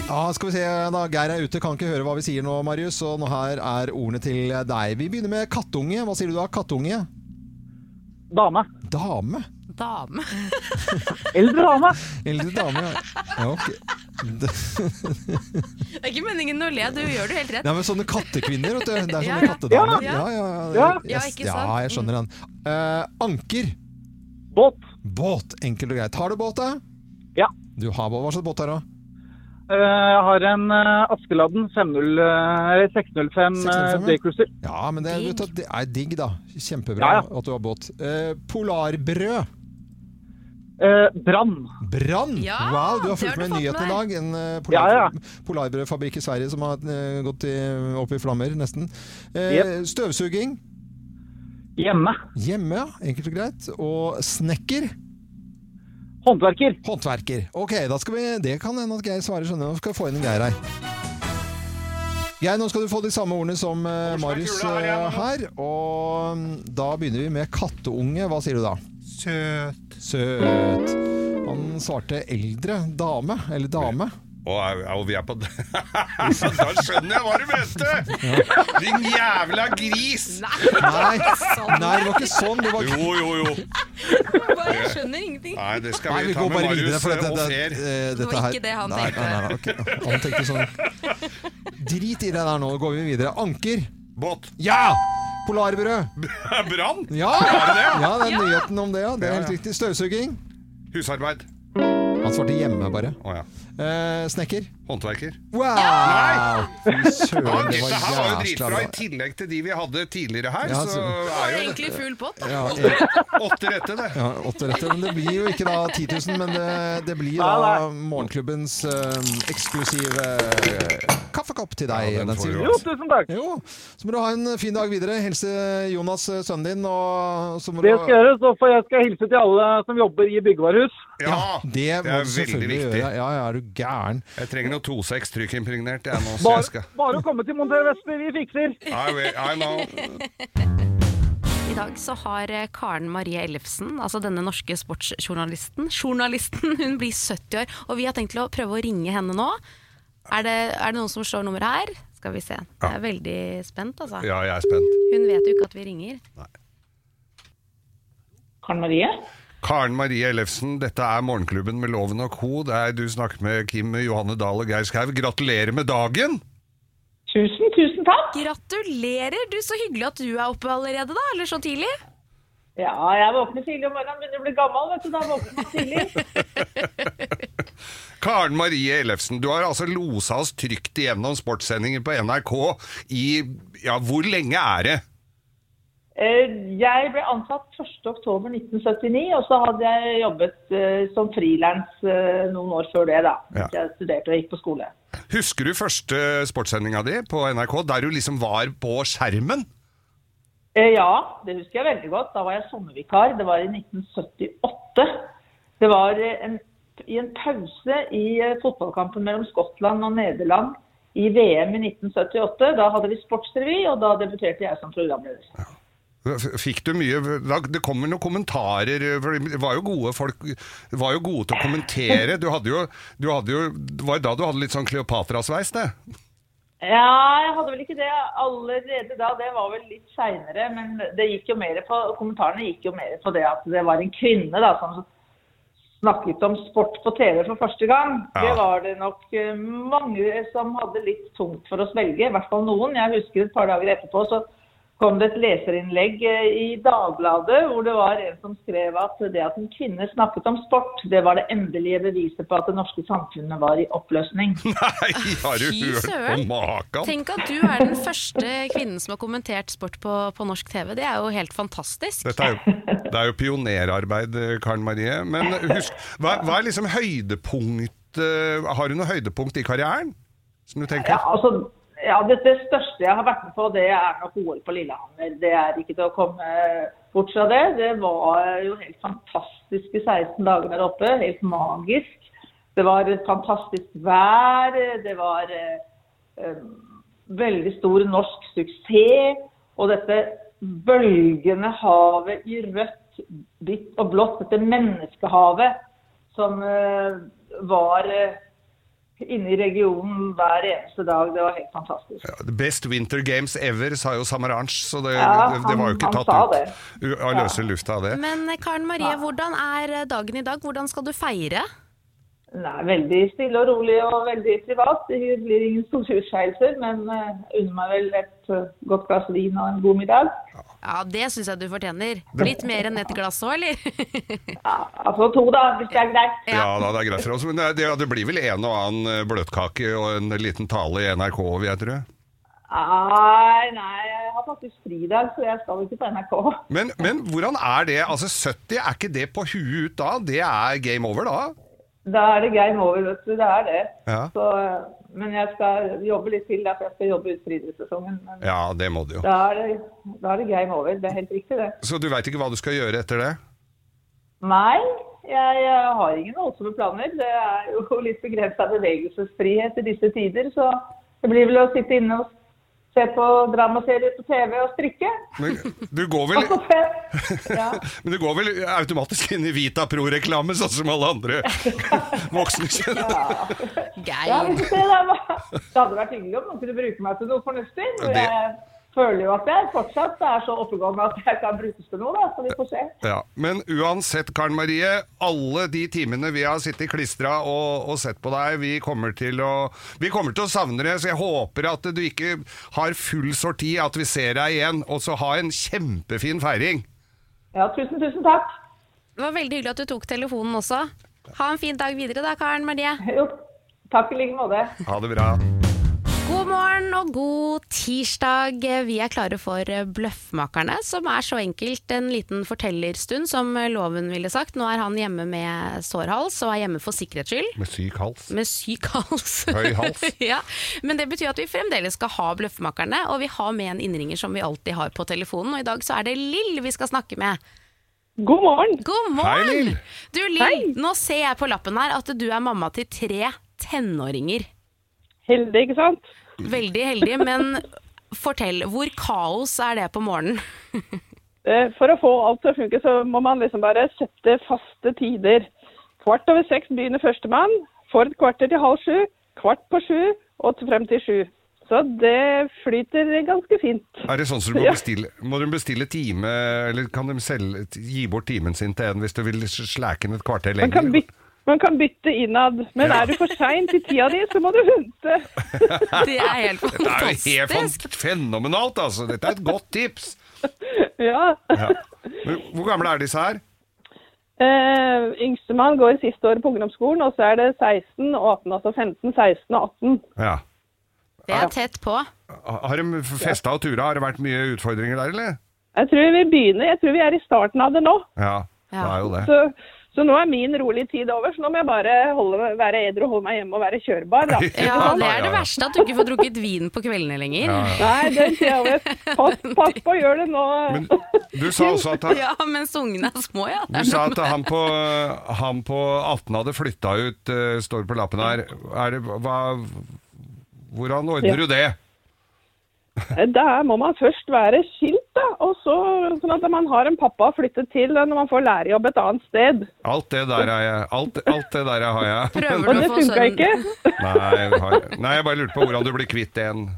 [SPEAKER 1] Ja, skal vi se da, Geir er ute, kan ikke høre hva vi sier nå, Marius. Og nå her er ordene til deg. Vi begynner med kattunge. Hva sier du da? Kattunge?
[SPEAKER 5] Dame.
[SPEAKER 1] Dame?
[SPEAKER 3] Dame.
[SPEAKER 5] Eldre dame.
[SPEAKER 1] Eldre dame, ja. ja ok.
[SPEAKER 3] Det er ikke meningen å le, du gjør det helt rett.
[SPEAKER 1] Nei, men sånne kattekvinner, vet du.
[SPEAKER 3] Ja,
[SPEAKER 1] Det er sånne
[SPEAKER 3] ja.
[SPEAKER 1] kattedamer.
[SPEAKER 3] Ja.
[SPEAKER 1] ja, ja.
[SPEAKER 5] Ja.
[SPEAKER 3] Ja, ikke sant?
[SPEAKER 1] ja jeg skjønner den. Eh, anker.
[SPEAKER 5] Båt.
[SPEAKER 1] Båt, enkelt og greit. Har du båt, da?
[SPEAKER 5] Ja.
[SPEAKER 1] Du har båt. Hva slags båt er det?
[SPEAKER 5] Eh, Jeg har en eh, Askeladden 50, eh, 605
[SPEAKER 1] 605, ja.
[SPEAKER 5] Daycruiser.
[SPEAKER 1] Ja, men det,
[SPEAKER 3] Digg.
[SPEAKER 1] vet du, det er digg, da. Kjempebra
[SPEAKER 5] Ja, ja.
[SPEAKER 1] at du har båt. Eh, polarbrød.
[SPEAKER 5] Eh, Brann.
[SPEAKER 1] Brann!
[SPEAKER 3] Ja,
[SPEAKER 1] wow, du
[SPEAKER 3] det
[SPEAKER 1] har fulgt
[SPEAKER 3] har
[SPEAKER 1] med
[SPEAKER 3] du fått
[SPEAKER 1] nyhetene i
[SPEAKER 3] med.
[SPEAKER 1] dag. En eh, polar,
[SPEAKER 5] Ja, ja.
[SPEAKER 1] polarbrødfabrikk i Sverige som har eh, gått i, opp i flammer, nesten. Eh,
[SPEAKER 5] Jep.
[SPEAKER 1] Støvsuging
[SPEAKER 5] Hjemme.
[SPEAKER 1] hjemme, ja, enkelt og greit. Og snekker.
[SPEAKER 5] Håndverker.
[SPEAKER 1] Håndverker. Ok, da skal vi, det kan hende at Geir svarer skjønner. Nå skal vi få inn en Geir her. Geir, nå skal du få de samme ordene som eh, Marius
[SPEAKER 2] kula her,
[SPEAKER 1] eh,
[SPEAKER 2] ja, nå.
[SPEAKER 1] her. Og mm, da begynner vi med katteunge. Hva sier du da?
[SPEAKER 2] Søt.
[SPEAKER 1] Søt. Han svarte eldre dame, eller dame.
[SPEAKER 2] Og, og vi er på Da skjønner jeg hva du mente! Din jævla gris!
[SPEAKER 3] Nei,
[SPEAKER 1] Nei,
[SPEAKER 3] Sånn.
[SPEAKER 1] nei, det var ikke sånn. Det var
[SPEAKER 2] Jo, jo, jo.
[SPEAKER 3] bare jeg skjønner ingenting.
[SPEAKER 2] Nei, det skal
[SPEAKER 1] Nei,
[SPEAKER 2] vi,
[SPEAKER 1] vi
[SPEAKER 2] ta
[SPEAKER 1] går
[SPEAKER 2] med
[SPEAKER 1] bare videre,
[SPEAKER 2] Marius
[SPEAKER 1] for dette,
[SPEAKER 2] og
[SPEAKER 1] det,
[SPEAKER 2] Per.
[SPEAKER 1] eh,
[SPEAKER 3] Det var
[SPEAKER 1] dette her-
[SPEAKER 3] ikke det han
[SPEAKER 1] nei,
[SPEAKER 3] tenkte.
[SPEAKER 1] Nei, nei, ok. Han tenkte sånn Drit i det der nå, går vi videre. Anker.
[SPEAKER 2] Båt.
[SPEAKER 1] Ja! Polarbrød.
[SPEAKER 2] Brann.
[SPEAKER 1] Ja! ja, det er nyheten om det, ja. Det er
[SPEAKER 2] Ja,
[SPEAKER 1] helt
[SPEAKER 2] ja.
[SPEAKER 1] riktig. Støvsuging.
[SPEAKER 2] Husarbeid.
[SPEAKER 1] Han svarte hjemme, bare.
[SPEAKER 2] Å ja.
[SPEAKER 1] Eh, snekker.
[SPEAKER 2] Håndverker.
[SPEAKER 1] Wow! Fy
[SPEAKER 2] Ja,
[SPEAKER 1] søren, det var
[SPEAKER 2] dette her var jo
[SPEAKER 1] jæskla
[SPEAKER 2] dritbra.
[SPEAKER 1] bra.
[SPEAKER 2] I tillegg til de vi hadde tidligere her,
[SPEAKER 1] Ja,
[SPEAKER 2] så
[SPEAKER 1] så-
[SPEAKER 3] Det
[SPEAKER 2] er
[SPEAKER 3] var
[SPEAKER 2] jo
[SPEAKER 3] egentlig full pott. da.
[SPEAKER 1] Ja, eh,
[SPEAKER 2] åtte rette, det.
[SPEAKER 1] ja, åtte retter. Men det blir jo ikke da 10 000, men det, det blir da morgenklubbens eh, eksklusive eh, kaffekopp til deg.
[SPEAKER 2] Ja, den får
[SPEAKER 1] Nancy.
[SPEAKER 2] du
[SPEAKER 5] Jo, tusen takk.
[SPEAKER 1] Jo, så må du ha en fin dag videre. Hilse Jonas, eh, sønnen din, og så må
[SPEAKER 5] Det
[SPEAKER 1] du
[SPEAKER 5] skal jeg gjøre, så får jeg skal hilse til alle som jobber i byggevarehus.
[SPEAKER 2] Ja,
[SPEAKER 1] det
[SPEAKER 2] det er
[SPEAKER 1] må du
[SPEAKER 2] veldig
[SPEAKER 1] selvfølgelig
[SPEAKER 2] viktig.
[SPEAKER 1] gjøre. Ja, ja, er du gæren?
[SPEAKER 2] Jeg trenger noe 2-6 trykkimpregnert. Jeg nå, så jeg
[SPEAKER 5] Bare,
[SPEAKER 2] skal
[SPEAKER 5] bare å komme til Monter Vestby, vi fikser.
[SPEAKER 2] I, will, I know.
[SPEAKER 3] I dag så har eh, Karen Marie Ellefsen, altså denne norske sportsjournalisten Journalisten, hun blir 70 år, og vi har tenkt til å prøve å ringe henne nå. Er det, er det noen som slår nummeret her? Skal vi se. Jeg er veldig spent, altså.
[SPEAKER 2] Ja, jeg er spent.
[SPEAKER 3] Hun vet jo ikke at vi ringer.
[SPEAKER 6] Karen Marie?
[SPEAKER 2] Karen Marie Ellefsen, dette er Morgenklubben med Loven og co. Det er du snakket med Kim Johanne Dahl og Geir Skau. Gratulerer med dagen!
[SPEAKER 6] Tusen, tusen takk!
[SPEAKER 3] Gratulerer! Du, så hyggelig at du er oppe allerede, da. Eller så tidlig.
[SPEAKER 6] Ja, jeg våkner tidlig om morgenen, begynner å bli gammel, vet du. Da våkner jeg tidlig.
[SPEAKER 2] Karen Marie Ellefsen, du har altså losa oss trygt igjennom sportssendinger på NRK i Ja, hvor lenge er det?
[SPEAKER 6] Eh, Jeg ble ansatt 1.10.1979, og så hadde jeg jobbet eh, som frilans eh, noen år før det, da.
[SPEAKER 2] Ja.
[SPEAKER 6] Jeg studerte og gikk på skole.
[SPEAKER 2] Husker du første sportssendinga di på NRK, der du liksom var på skjermen?
[SPEAKER 6] Eh, Ja, det husker jeg veldig godt. Da var jeg sommervikar. Det var i 1978. Det var eh, en, i en pause i eh, fotballkampen mellom Skottland og Nederland i VM i 1978. Da hadde vi sportsrevy, og da debuterte jeg som programleder.
[SPEAKER 2] F- Fikk du mye da- Det kommer noen kommentarer, for det var jo gode folk var jo gode til å kommentere. Du hadde jo, du hadde jo Det var jo da du hadde litt sånn Kleopatra-sveis, det.
[SPEAKER 6] Ja, jeg hadde vel ikke det allerede da. Det var vel litt seinere. Men det gikk jo mer på, kommentarene gikk jo mer på det at det var en kvinne da, som snakket om sport på TV for første gang. Det
[SPEAKER 2] Ja.
[SPEAKER 6] var det nok eh, mange som hadde litt tungt for å svelge. I hvert fall noen. Jeg husker et par dager etterpå så kom det et leserinnlegg eh, i Dagbladet hvor det var en som skrev at det at en kvinne snakket om sport, det var det endelige beviset på at det norske samfunnet var i oppløsning.
[SPEAKER 2] Nei, har du
[SPEAKER 3] Fy
[SPEAKER 2] hørt på
[SPEAKER 3] søren.
[SPEAKER 2] makan?
[SPEAKER 3] Tenk at du er den første kvinnen som har kommentert sport på, på norsk TV. Det er jo helt fantastisk.
[SPEAKER 2] Dette er jo, det er jo pionerarbeid, Karen Marie. Men husk, hva, hva er liksom høydepunktet hatt eh, Har du noe høydepunkt i karrieren som du tenker?
[SPEAKER 6] Ja, altså, ja det, det største jeg har vært med på, det er nok OL på Lillehammer. Det er ikke til å komme bort fra det. Det var jo helt fantastiske 16 dager der oppe. Helt magisk. Det var et fantastisk vær. Det var eh, eh, veldig stor norsk suksess. Og dette bølgende havet i rødt, hvitt og blått, dette menneskehavet som eh, var eh, inne i regionen hver eneste dag. Det var helt fantastisk.
[SPEAKER 2] Ja, The best winter games ever, sa jo Samaranch, så det,
[SPEAKER 6] Ja,
[SPEAKER 2] det, det var jo ikke
[SPEAKER 6] han- han
[SPEAKER 2] tatt
[SPEAKER 6] sa
[SPEAKER 2] ut u- av løse lufta av det.
[SPEAKER 3] Men eh, Karen Marie, hvordan er eh, dagen i dag? Hvordan skal du feire?
[SPEAKER 6] Nei, veldig stille og rolig og veldig privat. Det blir ingen store utskeielser, men eh, unner meg vel et eh, godt glass vin og en god middag.
[SPEAKER 3] Ja, det syns jeg du fortjener. Litt mer enn et glass òg, eller?
[SPEAKER 6] Ja, altså to, da, hvis det er greit.
[SPEAKER 2] Ja, da, det er greit for oss. Men det, det, det blir vel en og annen eh, bløtkake og en liten tale i NRK, vil jeg tro.
[SPEAKER 6] Nei, nei, jeg har faktisk fri i dag, så jeg skal ikke på NRK.
[SPEAKER 2] Men, men hvordan er det? Altså 70, er ikke det på huet ut da? Det er game over da?
[SPEAKER 6] Da er det game over, vet du. Det er det.
[SPEAKER 2] Ja,
[SPEAKER 6] Så, eh, men jeg skal jobbe litt til, da, for jeg skal jobbe ut friidrettssesongen. Men
[SPEAKER 2] ja det må du jo.
[SPEAKER 6] da er, det, da er det game over. Det er helt riktig, det.
[SPEAKER 2] Så du veit ikke hva du skal gjøre etter det?
[SPEAKER 6] Nei, jeg eh, har ingen voldsomme planer. Det er jo litt begrensa bevegelsesfrihet i disse tider, så det blir vel å sitte inne og se på dramaserier på TV og strikke.
[SPEAKER 2] Men du går vel,
[SPEAKER 6] Og så se- Ja.
[SPEAKER 2] men du går vel automatisk inn i Vita Pro-reklame, sånn som alle andre voksne kjenner?
[SPEAKER 6] Ja,
[SPEAKER 3] Geir.
[SPEAKER 6] vi får se, det, er bare- det hadde vært hyggelig om noen kunne bruke meg til noe fornuftig. For
[SPEAKER 2] Ja, det-
[SPEAKER 6] jeg føler jo at jeg fortsatt er så oppegående at jeg kan brukes til noe, da, så vi får se.
[SPEAKER 2] Ja, men uansett, Karen Marie, alle de timene vi har sittet klistra og, og sett på deg, vi kommer til å Vi kommer til å savne deg, så jeg håper at du ikke har full sorti, at vi ser deg igjen. Og så ha en kjempefin feiring.
[SPEAKER 6] Ja, tusen, tusen takk.
[SPEAKER 3] Det var veldig hyggelig at du tok telefonen også. Ha en fin dag videre da, Karen Marie.
[SPEAKER 6] Jo, takk i like måte.
[SPEAKER 2] Ha det bra.
[SPEAKER 3] God morgen og god tirsdag. Vi er klare for Bløffmakerne, som er så enkelt en liten fortellerstund, som loven ville sagt. Nå er han hjemme med sårhals og er hjemme for sikkerhets skyld.
[SPEAKER 2] Med syk hals.
[SPEAKER 3] Med syk hals.
[SPEAKER 2] Høy hals.
[SPEAKER 3] ja. Men det betyr at vi fremdeles skal ha Bløffmakerne, og vi har med en innringer som vi alltid har på telefonen. Og i dag så er det Lill vi skal snakke med.
[SPEAKER 4] God morgen.
[SPEAKER 3] God
[SPEAKER 2] Hei,
[SPEAKER 3] morgen!
[SPEAKER 2] Lill.
[SPEAKER 3] Du Lill, nå ser jeg på lappen her at du er mamma til tre tenåringer.
[SPEAKER 4] Heldig, ikke sant?
[SPEAKER 3] Veldig heldig, men fortell, hvor kaos er det på morgenen?
[SPEAKER 4] Eh, For å få alt til å funke, så må man liksom bare sette faste tider. Kvart over seks begynner førstemann, for et kvarter til halv sju, kvart på sju og til frem til sju. Så det flyter ganske fint.
[SPEAKER 2] Er det sånn som du må bestille Må du bestille time, eller kan de selge, gi bort timen sin til en hvis du vil slæke den et kvarter
[SPEAKER 4] Man kan,
[SPEAKER 2] lenger?
[SPEAKER 4] bytte, man kan bytte innad, men er du for sein til tida di, så må du vente.
[SPEAKER 3] Det er helt
[SPEAKER 2] Det er jo helt
[SPEAKER 3] fantastisk.
[SPEAKER 2] fan- fenomenalt, altså! Dette er et godt tips!
[SPEAKER 4] Ja.
[SPEAKER 2] Ja. Men Hvor gamle er disse her?
[SPEAKER 4] Eh, Yngstemann går siste året på ungdomsskolen, og så er det 16 og 18, altså 15, 16 og 18.
[SPEAKER 2] Ja.
[SPEAKER 3] Det er tett på.
[SPEAKER 2] Har de festa og tura? Har det vært mye utfordringer der, eller?
[SPEAKER 4] Jeg tror vi begynner, jeg tror vi er i starten av det nå.
[SPEAKER 2] Ja,
[SPEAKER 3] Ja.
[SPEAKER 2] det er jo det.
[SPEAKER 4] Så, så nå er min rolige tid over, så nå må jeg bare holde, være edru og holde meg hjemme og være kjørbar. Da.
[SPEAKER 3] Ja, det
[SPEAKER 2] ja,
[SPEAKER 3] er det
[SPEAKER 2] ja.
[SPEAKER 3] verste, at du ikke får drukket vin på kveldene lenger.
[SPEAKER 4] Nei, den tida over. Pass, pass på å gjøre det nå.
[SPEAKER 2] Men du sa også at han,
[SPEAKER 3] Ja, mens ungene er små, ja.
[SPEAKER 2] du sa at han, på, han på 18 hadde flytta ut, eh, står på lappen her. Er det, hva, hvordan ordner du det?
[SPEAKER 4] Der må man først være skilt, da. Og så, sånn at man har en pappa å flytte til når man får lærerjobb et annet sted.
[SPEAKER 2] Alt det der er jeg. Alt, alt det der har jeg.
[SPEAKER 3] Prøver
[SPEAKER 4] Og
[SPEAKER 3] du
[SPEAKER 4] det
[SPEAKER 3] å få
[SPEAKER 4] funka ikke.
[SPEAKER 3] sønnen
[SPEAKER 2] Nei, jeg har, nei, jeg bare lurte på hvordan du blir kvitt en.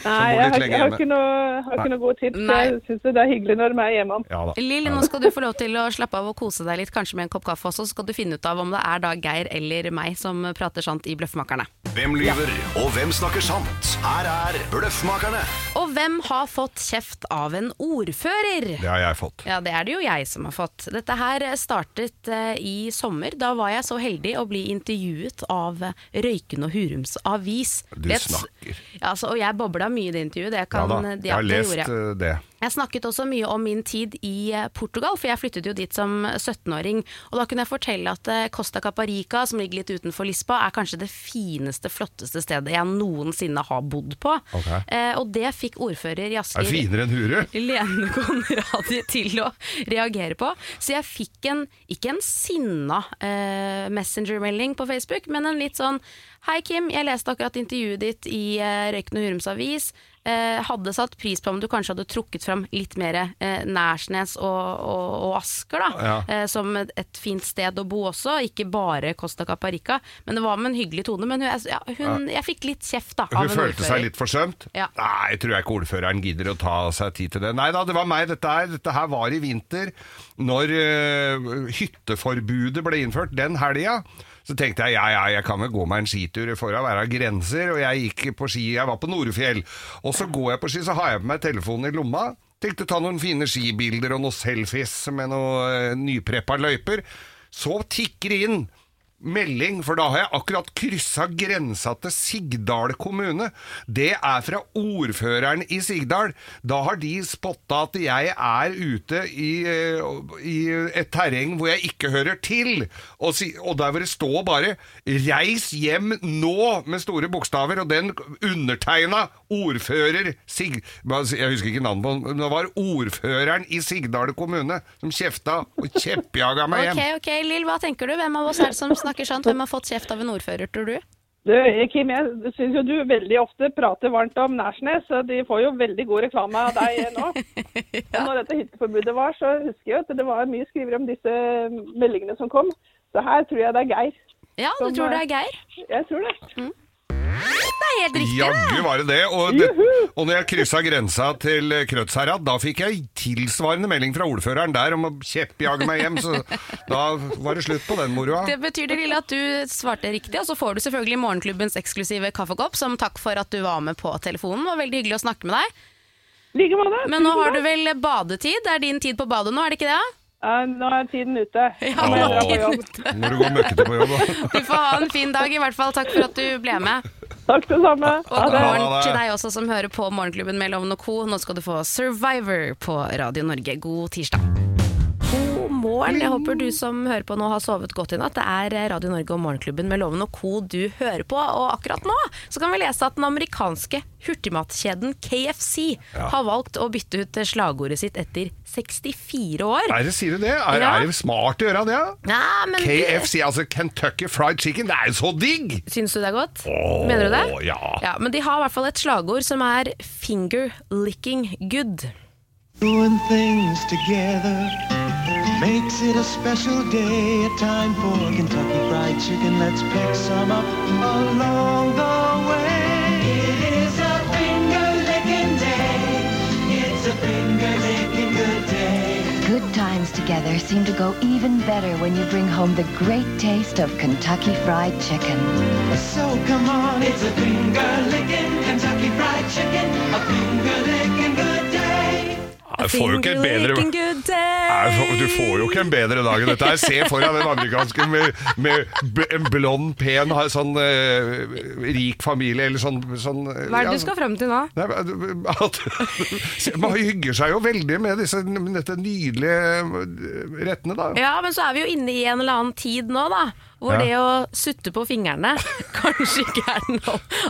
[SPEAKER 4] Nei,
[SPEAKER 2] bor
[SPEAKER 4] jeg
[SPEAKER 2] litt lenger
[SPEAKER 4] har, jeg har
[SPEAKER 2] hjemme.
[SPEAKER 4] ikke noe, har ikke noe god tips.
[SPEAKER 3] Nei.
[SPEAKER 4] Jeg syns det er hyggelig når de er hjemme.
[SPEAKER 2] Ja da.
[SPEAKER 3] Lill, nå skal du få lov til å slappe av og kose deg litt, kanskje med en kopp kaffe også, så skal du finne ut av om det er da Geir eller meg som prater sant i Bløffmakerne.
[SPEAKER 7] Hvem lyver, og hvem snakker sant? Her er Bløffmakerne.
[SPEAKER 3] Og hvem har fått kjeft av en ordfører?
[SPEAKER 2] Det har jeg fått.
[SPEAKER 3] Ja, det er det jo jeg som har fått. Dette her startet eh, i sommer. Da var jeg så heldig å bli intervjuet av eh, Røyken og Hurums avis.
[SPEAKER 2] Du
[SPEAKER 3] Det er et-
[SPEAKER 2] snakker.
[SPEAKER 3] Ja, altså, og jeg bobla mye i det intervjuet. Det
[SPEAKER 2] Ja
[SPEAKER 3] kan,
[SPEAKER 2] da,
[SPEAKER 3] det-
[SPEAKER 2] jeg har
[SPEAKER 3] det gjorde
[SPEAKER 2] lest
[SPEAKER 3] jeg.
[SPEAKER 2] eh, det.
[SPEAKER 3] Jeg snakket også mye om min tid i eh, Portugal, for jeg flyttet jo dit som 17-åring. Og da kunne jeg fortelle at eh, Costa Caparica, som ligger litt utenfor Lisboa, er kanskje det fineste, flotteste stedet jeg noensinne har bodd på.
[SPEAKER 2] Ok.
[SPEAKER 3] Eh, og det fikk ordfører i
[SPEAKER 2] Er
[SPEAKER 3] Asker
[SPEAKER 2] finere enn Hurud.
[SPEAKER 3] Lene Konradi til å reagere på. Så jeg fikk en, ikke en sinna eh, messengermelding på Facebook, men en litt sånn Hei Kim, jeg leste akkurat intervjuet ditt i eh, Røyken og Hurums avis. Eh, hadde satt pris på om du kanskje hadde trukket fram litt mer eh, Nærsnes og, og, og Asker, da.
[SPEAKER 2] Ja.
[SPEAKER 3] Eh, som et, et fint sted å bo også, ikke bare Costa Caparica. Men det var med en hyggelig tone. Men hun, ja, hun, jeg fikk litt kjeft, da.
[SPEAKER 2] Hun
[SPEAKER 3] av en
[SPEAKER 2] følte
[SPEAKER 3] ordfører.
[SPEAKER 2] seg litt forsømt?
[SPEAKER 3] Ja.
[SPEAKER 2] Nei, tror jeg ikke ordføreren gidder å ta seg tid til det. Nei da, det var meg dette her. Dette her var i vinter, når eh, hytteforbudet ble innført den helga. Så tenkte jeg ja, ja, jeg kan vel gå meg en skitur for å være av grenser, og jeg gikk på ski, jeg var på Norefjell. Og så går jeg på ski, så har jeg på meg telefonen i lomma. Tenkte ta noen fine skibilder og noen selfies med noen eh, nypreppa løyper. Så tikker det inn melding, for da har jeg akkurat kryssa grensa til Sigdal kommune. Det er fra ordføreren i Sigdal. Da har de spotta at jeg er ute i, eh, i et terreng hvor jeg ikke hører til. Og, si, og der hvor det står bare 'Reis hjem nå!' med store bokstaver, og den undertegna ordfører Sig... Jeg husker ikke navnet på han, men det var ordføreren i Sigdal kommune som kjefta og kjeppjaga meg hjem.
[SPEAKER 3] Ok, ok, Lill, hva tenker du? Hvem av oss er det som snakker sant? Hvem har fått kjeft av en ordfører, tror du?
[SPEAKER 4] Du, Kim, jeg syns jo du veldig ofte prater varmt om Nærsnes, så de får jo veldig god reklame av deg nå. Og når dette hytteforbudet var, så husker jeg at det var mye skriver om disse meldingene som kom. Så her tror jeg det er Geir.
[SPEAKER 3] Ja, du
[SPEAKER 4] Som,
[SPEAKER 3] tror det
[SPEAKER 4] eh,
[SPEAKER 3] er Geir?
[SPEAKER 4] Jeg tror det.
[SPEAKER 3] Det er helt riktig, det!
[SPEAKER 2] Jaggu var det det. Og, det, og når jeg kryssa grensa til eh, Krødsherad, da fikk jeg tilsvarende melding fra ordføreren der om å kjeppjage meg hjem, så da var det slutt på den
[SPEAKER 4] Ah.
[SPEAKER 2] moroa.
[SPEAKER 3] Det betyr det lille at du svarte riktig, og så får du selvfølgelig morgenklubbens eksklusive kaffekopp, som takk for at du var med på telefonen. Det var veldig hyggelig å snakke med deg.
[SPEAKER 4] Like måte.
[SPEAKER 3] Men nå har du vel badetid? Det er din tid på badet nå, er det ikke det?
[SPEAKER 4] Ja, nå er tiden ute.
[SPEAKER 3] Ja,
[SPEAKER 4] Nå må jeg dra på jobb.
[SPEAKER 2] Når du går møkkete på jobb. da.
[SPEAKER 3] Du får ha en fin dag i hvert fall. Takk for at du ble med.
[SPEAKER 4] Takk det samme.
[SPEAKER 3] Og god
[SPEAKER 2] det.
[SPEAKER 3] morgen
[SPEAKER 2] Ha det.
[SPEAKER 3] til deg også som hører på Morgenklubben med Loven og Co. Nå skal du få Survivor på Radio Norge. God tirsdag. God morgen. Jeg håper du som hører på nå har sovet godt i natt. Det er eh, Radio Norge og Morgenklubben med Loven og Co. du hører på. Og akkurat nå så kan vi lese at den amerikanske hurtigmatkjeden KFC har valgt å bytte ut slagordet sitt etter 64 år.
[SPEAKER 2] Er det, sier du det? Er,
[SPEAKER 3] Ja.
[SPEAKER 2] er det smart å gjøre det?
[SPEAKER 3] Nei, men
[SPEAKER 2] KFC, altså Kentucky Fried Chicken, det er jo så digg!
[SPEAKER 3] Syns du det er godt?
[SPEAKER 2] Åh,
[SPEAKER 3] Mener du det?
[SPEAKER 2] ja.
[SPEAKER 3] Men de har i hvert fall et slagord som er 'finger licking good'.
[SPEAKER 8] Doing things together makes it a special day. A time for Kentucky Fried Chicken. Let's pick some up along the way. It is a finger licking day. It's a finger licking good day.
[SPEAKER 9] Good times together seem to go even better when you bring home the great taste of Kentucky Fried Chicken.
[SPEAKER 8] So come on, it's a finger licking Kentucky Fried Chicken. A finger licking good day.
[SPEAKER 2] Jeg får jo ikke et
[SPEAKER 3] Finger
[SPEAKER 2] bedre
[SPEAKER 3] licking good
[SPEAKER 2] Nei,
[SPEAKER 3] day.
[SPEAKER 2] for- du får jo ikke en bedre dag enn dette her. Se for deg den amerikanske med, med b- en blond, pen, har sånn eh, rik familie, eller sånn, sånn
[SPEAKER 3] Hva er det du skal frem til nå?
[SPEAKER 2] Nei, men, at, at- man hygger seg jo veldig med disse, dette nydelige eh, rettene, da.
[SPEAKER 3] Ja, men så er vi jo inne i en eller annen tid nå, da. Hvor
[SPEAKER 2] Ja.
[SPEAKER 3] det å sutte på fingrene kanskje ikke er den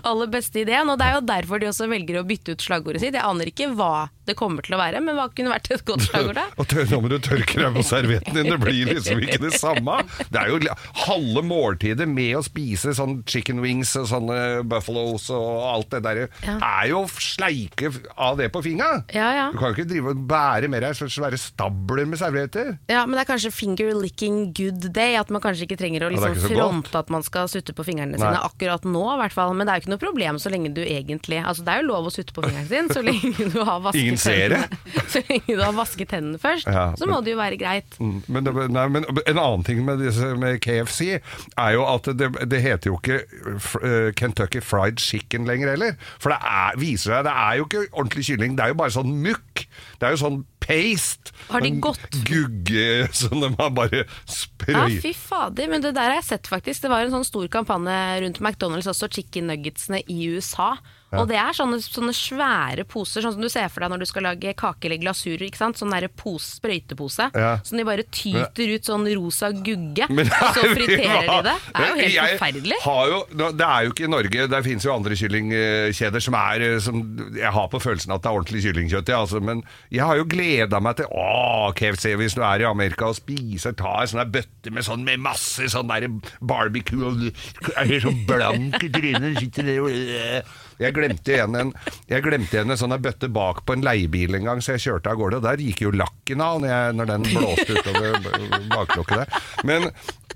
[SPEAKER 3] aller beste ideen. Og det er jo derfor de også velger å bytte ut slagordet sitt. Jeg aner ikke hva det kommer til å være, men hva kunne vært et godt slagord, da?
[SPEAKER 2] Og tør, nå må du tørke deg på servietten din, det blir liksom ikke det samme. Det er jo li- halve måltidet med å spise sånn chicken wings og sånne buffaloes og alt det der.
[SPEAKER 3] Ja.
[SPEAKER 2] Er jo sleike av det på fingra.
[SPEAKER 3] Ja, ja.
[SPEAKER 2] Du kan jo ikke drive og bære med deg så svære stabler med servietter.
[SPEAKER 3] Ja, men det er kanskje finger licking good day. At man kanskje ikke trenger å
[SPEAKER 2] Ja, det er
[SPEAKER 3] liksom
[SPEAKER 2] ikke så godt.
[SPEAKER 3] fronte at man skal sutte på fingrene
[SPEAKER 2] Nei.
[SPEAKER 3] sine akkurat nå, i hvert fall. Men det er jo ikke noe problem så lenge du egentlig Altså, det er jo lov å sutte på fingeren sin så lenge du har vasket
[SPEAKER 2] Ingen ser det.
[SPEAKER 3] tennene. Så lenge du har vasket tennene først,
[SPEAKER 2] Ja,
[SPEAKER 3] så må det jo være greit.
[SPEAKER 2] Mm, Men, det, nei, men en annen ting med, disse, med KFC er jo at det, det heter jo ikke f- eh, Kentucky Fried Chicken lenger heller. For det er, viser seg, det er jo ikke ordentlig kylling, det er jo bare sånn mukk. Det er jo sånn paste.
[SPEAKER 3] Har de
[SPEAKER 2] En
[SPEAKER 3] gått?
[SPEAKER 2] Gugge som de har bare
[SPEAKER 3] Ja,
[SPEAKER 2] sprøyt.
[SPEAKER 3] fy fader, men det der har jeg sett faktisk. Det var en sånn stor kampanje rundt McDonald's også, chicken nuggetsene i USA.
[SPEAKER 10] Ja.
[SPEAKER 3] Og det er sånne, sånne svære poser, sånn som du ser for deg når du skal lage kake eller glasurer. ikke sant? Sånn derre pose, sprøytepose.
[SPEAKER 2] Ja.
[SPEAKER 3] Som de bare tyter ut sånn rosa gugge,
[SPEAKER 2] Men
[SPEAKER 3] og så
[SPEAKER 2] herregud,
[SPEAKER 3] friterer de
[SPEAKER 2] hva?
[SPEAKER 3] det. Det er jo helt
[SPEAKER 2] Jeg
[SPEAKER 3] forferdelig.
[SPEAKER 2] Har jo, nå- det er jo ikke i Norge. Der fins jo andre kyllingkjeder som er eh, som, Jeg har på følelsen at det er ordentlig kyllingkjøtt, ja, altså, men jeg har jo gleda meg til Å, KFC, hvis du er i Amerika og spiser, ta en sånn der bøtte med sånn med masse sånn der barbecue og du er helt sånn blank i trynet. Sitter der og øh. jeg glemte igjen en Jeg glemte igjen en sånn der bøtte bak på en leiebil en gang, så jeg kjørte av gårde. og Der gikk jo lakken av når, jeg, når den blåste utover b- baklokket der. Men,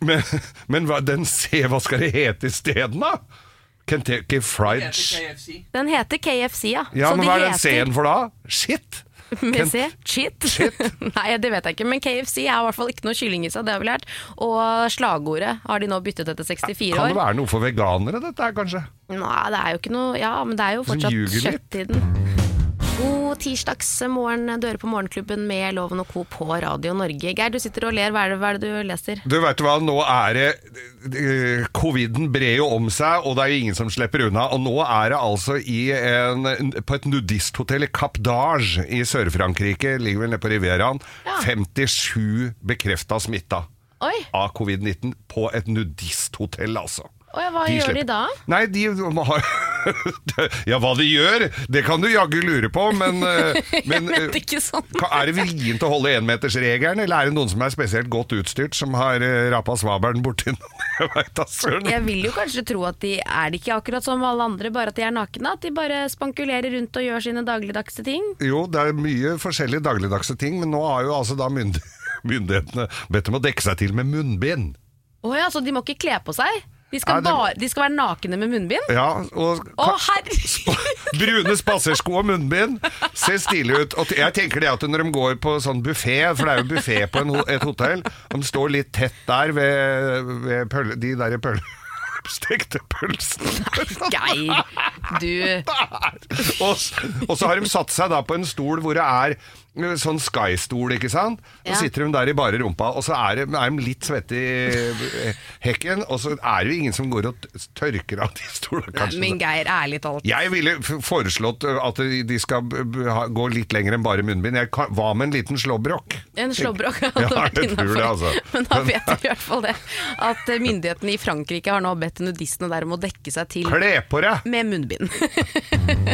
[SPEAKER 2] men, men hva, den se, hva skal det hete isteden, da? Kentucky Fried Ch-
[SPEAKER 3] Den heter KFC, ja.
[SPEAKER 2] Ja,
[SPEAKER 3] Så
[SPEAKER 2] men
[SPEAKER 3] de
[SPEAKER 2] hva er den
[SPEAKER 3] heter-
[SPEAKER 2] C-en for da? Shit!
[SPEAKER 3] Med C? Shit? Nei, det vet jeg ikke. Men KFC er i hvert fall ikke noe kylling i seg, det har vi lært. Og slagordet har de nå byttet etter 64
[SPEAKER 2] Kan
[SPEAKER 3] år.
[SPEAKER 2] det være noe for veganere, dette her, kanskje?
[SPEAKER 3] Nei, det er jo ikke noe Ja, men det er jo
[SPEAKER 2] Som
[SPEAKER 3] fortsatt
[SPEAKER 2] ljuger litt.
[SPEAKER 3] kjøtt i den. God tirsdags morgen. Du hører på Morgenklubben med Loven og Co. på Radio Norge. Geir, du sitter og ler. Hva er det, hva er det du leser?
[SPEAKER 2] Du vet hva, nå er det eh, Coviden brer jo om seg, og det er jo ingen som slipper unna. Og nå er det altså i en, på et nudisthotell i Cap d'Age i Sør-Frankrike, ligger vel nede på Rivieraen, 57 bekrefta smitta
[SPEAKER 3] Oi,
[SPEAKER 2] av covid-19 på et nudisthotell, altså.
[SPEAKER 3] Oi hva
[SPEAKER 2] De
[SPEAKER 3] gjør
[SPEAKER 2] slipper.
[SPEAKER 3] de da?
[SPEAKER 2] Nei, de har Ja, hva de gjør, det kan du jaggu lure på, men, eh,
[SPEAKER 3] Jeg
[SPEAKER 2] men eh,
[SPEAKER 3] mente ikke sånn.
[SPEAKER 2] Ka- Er det vrient å holde enmetersregelen, eller er det noen som er spesielt godt utstyrt, som har eh, rapa svabelen borti noen? Jeg veit da søren.
[SPEAKER 3] Jeg vil jo kanskje tro at de er det ikke akkurat som alle andre, bare at de er nakne. At de bare spankulerer rundt og gjør sine dagligdagse ting.
[SPEAKER 2] Jo, det er mye forskjellige dagligdagse ting, men nå har jo altså da mynd myndighetene bedt dem å dekke seg til med munnbind.
[SPEAKER 3] Å ja, så de må ikke kle på seg? De skal,
[SPEAKER 2] Ja, det-
[SPEAKER 3] bare, de skal være nakne med munnbind?
[SPEAKER 2] Ja, og
[SPEAKER 3] Å,
[SPEAKER 2] ka-
[SPEAKER 3] herregud!
[SPEAKER 2] Brune spasersko og munnbind. Ser stilig ut. Og jeg tenker det at når de går på sånn buffé, for det er jo buffé på en, ho- et hotell, de står litt tett der ved, ved pøl, de der pøl, stekte pølsene.
[SPEAKER 3] Geir, du
[SPEAKER 2] Og, s- og så har de satt seg da på en stol hvor det er eh, sånn Sky-stol, ikke sant?
[SPEAKER 3] Ja.
[SPEAKER 2] Så sitter de der i bare rumpa, og så er de, er de litt svette i eh, hekken, og så er det jo ingen som går og t- tørker av de stolene, kanskje.
[SPEAKER 3] Min Geir, ærlig talt.
[SPEAKER 2] Jeg ville f- foreslått ø, at de- de skal b- b- ha- gå litt lenger enn bare munnbind. Jeg kan- Hva med en liten slåbrok?
[SPEAKER 3] En slåbrok hadde
[SPEAKER 2] Ja,
[SPEAKER 3] vært
[SPEAKER 2] jeg tror
[SPEAKER 3] innafor.
[SPEAKER 2] det, altså.
[SPEAKER 3] Men da vet vi i hvert fall det. At eh, myndighetene i Frankrike har nå bedt nudistene der om å dekke seg til
[SPEAKER 2] Kle på deg!
[SPEAKER 3] med munnbind.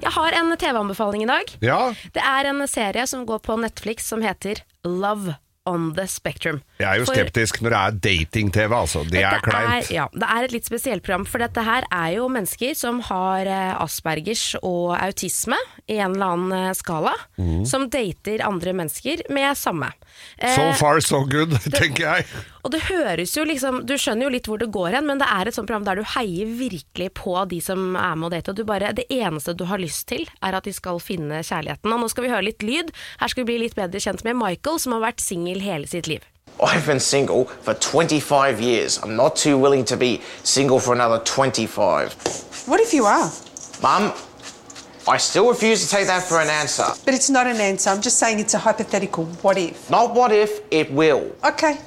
[SPEAKER 3] Jeg har en TV-anbefaling i dag.
[SPEAKER 2] Ja,
[SPEAKER 3] Det er en serie som går på Netflix som heter Love on the Spectrum.
[SPEAKER 2] jeg er jo
[SPEAKER 3] For-
[SPEAKER 2] skeptisk når det er dating-TV, altså. Det er
[SPEAKER 3] Dette
[SPEAKER 2] kleint.
[SPEAKER 3] Er, ja, det er et litt spesielt program, for dette her er jo mennesker som har eh, Aspergers og autisme i en eller annen eh, skala,
[SPEAKER 2] Mhm.
[SPEAKER 3] som dater andre mennesker med samme. Eh,
[SPEAKER 2] So far so good, tenker jeg.
[SPEAKER 3] og det høres jo liksom Du skjønner jo litt hvor det går hen, men det er et sånt program der du heier virkelig på de som er med og date. Og du bare, det eneste du har lyst til, er at de skal finne kjærligheten. Og nå skal vi høre litt lyd. Her skal vi bli litt bedre kjent med Michael, som har vært singel hele sitt liv.
[SPEAKER 11] I've been single for 25 years. I'm not too willing to be single for another 25.
[SPEAKER 12] What if you are?
[SPEAKER 11] Mum, I still refuse to take that for an answer.
[SPEAKER 12] But it's not an answer. I'm just saying it's a hypothetical. What if?
[SPEAKER 11] Not what if, it will.
[SPEAKER 12] Okay.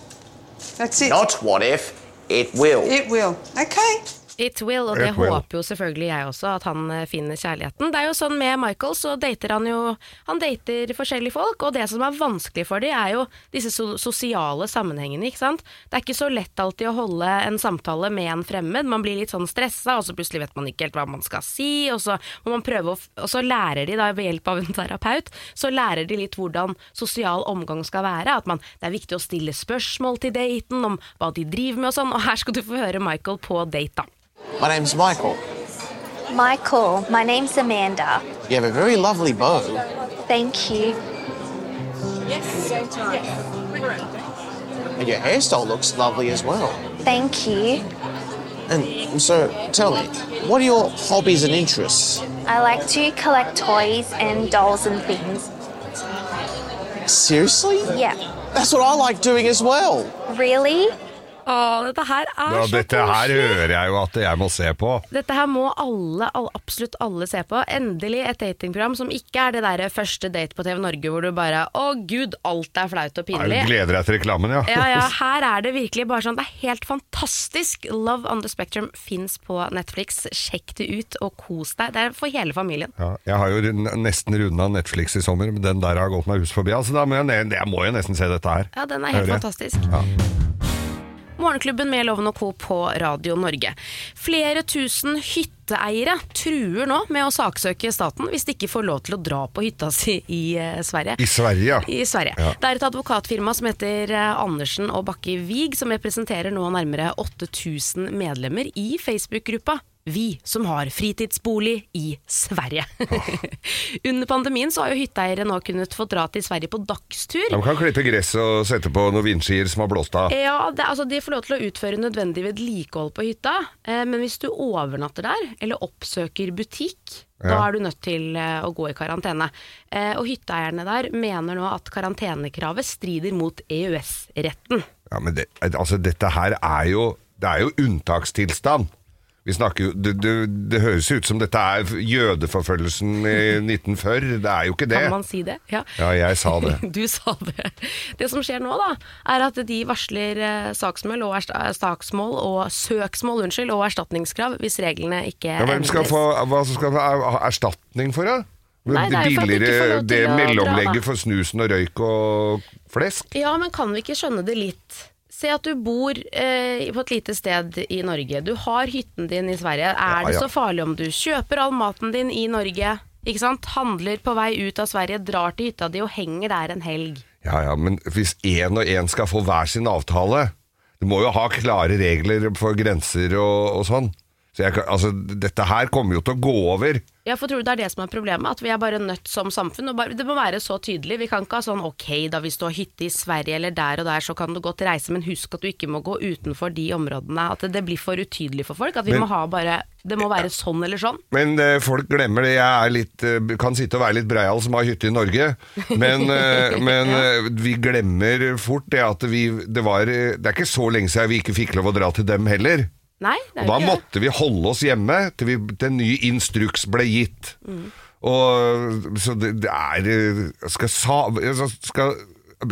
[SPEAKER 12] That's it.
[SPEAKER 11] Not what if, it will.
[SPEAKER 12] It will. Okay.
[SPEAKER 3] It will, og det
[SPEAKER 11] It will.
[SPEAKER 3] håper jo selvfølgelig jeg også, at han eh, finner kjærligheten. Det er jo sånn med Michael, så dater han jo Han dater forskjellige folk, og det som er vanskelig for dem, er jo disse so sosiale sammenhengene, ikke sant. Det er ikke så lett alltid å holde en samtale med en fremmed. Man blir litt sånn stressa, og så plutselig vet man ikke helt hva man skal si, og så må man prøve å f Og så lærer de, da ved hjelp av en terapeut, så lærer de litt hvordan sosial omgang skal være. At man, det er viktig å stille spørsmål til daten om hva de driver med og sånn, og her skal du få høre Michael på date, da.
[SPEAKER 11] My name's Michael.
[SPEAKER 13] Michael, my name's Amanda.
[SPEAKER 11] You have a very lovely bow.
[SPEAKER 13] Thank you.
[SPEAKER 12] Yes.
[SPEAKER 11] And your hairstyle looks lovely as well.
[SPEAKER 13] Thank you.
[SPEAKER 11] And so, tell me, what are your hobbies and interests?
[SPEAKER 13] I like to collect toys and dolls and things.
[SPEAKER 11] Seriously?
[SPEAKER 13] Yeah.
[SPEAKER 11] That's what I like doing as well.
[SPEAKER 13] Really?
[SPEAKER 3] Å, dette her er
[SPEAKER 2] Ja,
[SPEAKER 3] så
[SPEAKER 2] dette her
[SPEAKER 3] koselig.
[SPEAKER 2] hører jeg jo at jeg må se på.
[SPEAKER 3] Dette her må alle, alle, absolutt alle se på. Endelig et datingprogram som ikke er det der første date på TV Norge hvor du bare Å gud, alt er flaut og
[SPEAKER 2] Er du
[SPEAKER 3] pinlig.
[SPEAKER 2] gleder deg til reklamen, ja?
[SPEAKER 3] Ja, ja, her er det virkelig bare sånn Det er helt fantastisk. Love on the Spectrum fins på Netflix. Sjekk det ut og kos deg. Det er for hele familien.
[SPEAKER 2] Ja, jeg har jo rund- nesten runda Netflix i sommer, men den der har gått meg hus forbi. Altså, da må jeg, ne- jeg må jo nesten se dette her.
[SPEAKER 3] Ja, den er helt
[SPEAKER 2] Hører jeg.
[SPEAKER 3] fantastisk.
[SPEAKER 2] Ja.
[SPEAKER 3] Morgenklubben med Loven og Co. på Radio Norge. Flere tusen hytteeiere truer nå med å saksøke staten hvis de ikke får lov til å dra på hytta si i eh, Sverige.
[SPEAKER 2] I Sverige, ja.
[SPEAKER 3] I Sverige.
[SPEAKER 2] Ja.
[SPEAKER 3] Det er et advokatfirma som heter eh, Andersen og Bakke Wiig, som representerer nå nærmere 8000 medlemmer i Facebook-gruppa Vi som har fritidsbolig i Sverige. Under pandemien så har jo hytteeiere nå kunnet få dra til Sverige på dagstur.
[SPEAKER 2] De kan klippe gress og sette på noen vindskier som har blåst av.
[SPEAKER 3] Ja, det, altså De får lov til å utføre nødvendig vedlikehold på hytta, eh, men hvis du overnatter der, eller oppsøker butikk, da
[SPEAKER 2] Ja.
[SPEAKER 3] er du nødt til eh, å gå i karantene. Eh, og hytteeierne der mener nå at karantenekravet strider mot E EØS-retten.
[SPEAKER 2] Ja, men det, altså, dette her er jo, det er jo unntakstilstand. Vi snakker jo, det, det, det høres jo ut som dette er jødeforfølgelsen i 1940. Det er jo ikke det.
[SPEAKER 3] Kan man si det? Ja.
[SPEAKER 2] Ja, jeg sa det.
[SPEAKER 3] Du sa det. Det som skjer nå, da, er at de varsler eh, saksmål og, ersta- saksmål og søksmål unnskyld, og erstatningskrav hvis reglene ikke
[SPEAKER 2] Ja, hvem skal
[SPEAKER 3] endres.
[SPEAKER 2] få, hva skal få ha erstatning for, da?
[SPEAKER 3] Nei, det er jo for at de ikke får
[SPEAKER 2] Billigere
[SPEAKER 3] lov til å
[SPEAKER 2] det
[SPEAKER 3] dra, da.
[SPEAKER 2] mellomlegget for snusen og røyk og flesk?
[SPEAKER 3] Ja, men kan vi ikke skjønne det litt? Se at du bor eh, på et lite sted i Norge. Du har hytten din i Sverige. Er det
[SPEAKER 2] ja.
[SPEAKER 3] så farlig om du kjøper all maten din i Norge? Ikke sant? Handler på vei ut av Sverige, drar til hytta di og henger der en helg.
[SPEAKER 2] Ja, ja, men hvis én og én skal få hver sin avtale Du må jo ha klare regler for grenser og, og sånn. Så jeg, kan- altså, dette her kommer jo til å gå over.
[SPEAKER 3] Ja, for tror du det er det som er problemet? At vi er bare nødt som samfunn? Og bare, det må være så tydelig. Vi kan ikke ha sånn ok, da hvis du har hytte i Sverige eller der og der, så kan du godt reise, men husk at du ikke må gå utenfor de områdene. At det, det blir for utydelig for folk. At vi
[SPEAKER 2] Men-
[SPEAKER 3] må ha bare Det må være sånn eller sånn.
[SPEAKER 2] Men eh, folk glemmer det. Jeg er litt, eh, kan sitte og være litt breial som har hytte i Norge, men, eh, men eh, vi glemmer fort det at vi det, var, eh, det er ikke så lenge siden vi ikke fikk lov å dra til dem heller.
[SPEAKER 3] Nei, det er
[SPEAKER 2] Og
[SPEAKER 3] jo
[SPEAKER 2] da
[SPEAKER 3] ikke det.
[SPEAKER 2] måtte vi holde oss hjemme til, vi, til en ny instruks ble gitt. Og, så det, det er Skal, sa, altså, skal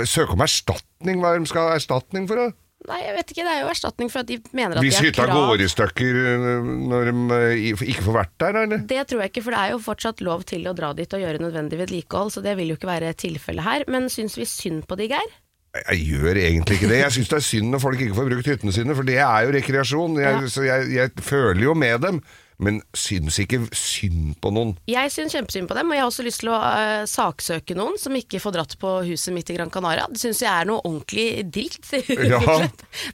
[SPEAKER 2] søke om erstatning? Hva er det de skal ha erstatning for? Da?
[SPEAKER 3] Nei, jeg vet ikke. Det er jo erstatning for at de mener at
[SPEAKER 2] Hvis
[SPEAKER 3] de har
[SPEAKER 2] hytta
[SPEAKER 3] krav.
[SPEAKER 2] går i stykker øh, når de øh, ikke får vært der, da, eller?
[SPEAKER 3] Det tror jeg ikke, for det er jo fortsatt lov til å dra dit og gjøre nødvendig vedlikehold, så det vil jo ikke være tilfellet her. Men syns vi synd på de, Geir?
[SPEAKER 2] Jeg gjør egentlig ikke det. Jeg syns det er synd når folk ikke får brukt hyttene sine, for det er jo rekreasjon. Jeg,
[SPEAKER 3] Ja.
[SPEAKER 2] Så jeg, jeg føler jo med dem, men syns ikke synd på noen.
[SPEAKER 3] Jeg syns kjempesynd på dem, og jeg har også lyst til å eh, saksøke noen som ikke får dratt på huset mitt i Gran Canaria. Det syns jeg er noe ordentlig dritt.
[SPEAKER 2] Ja.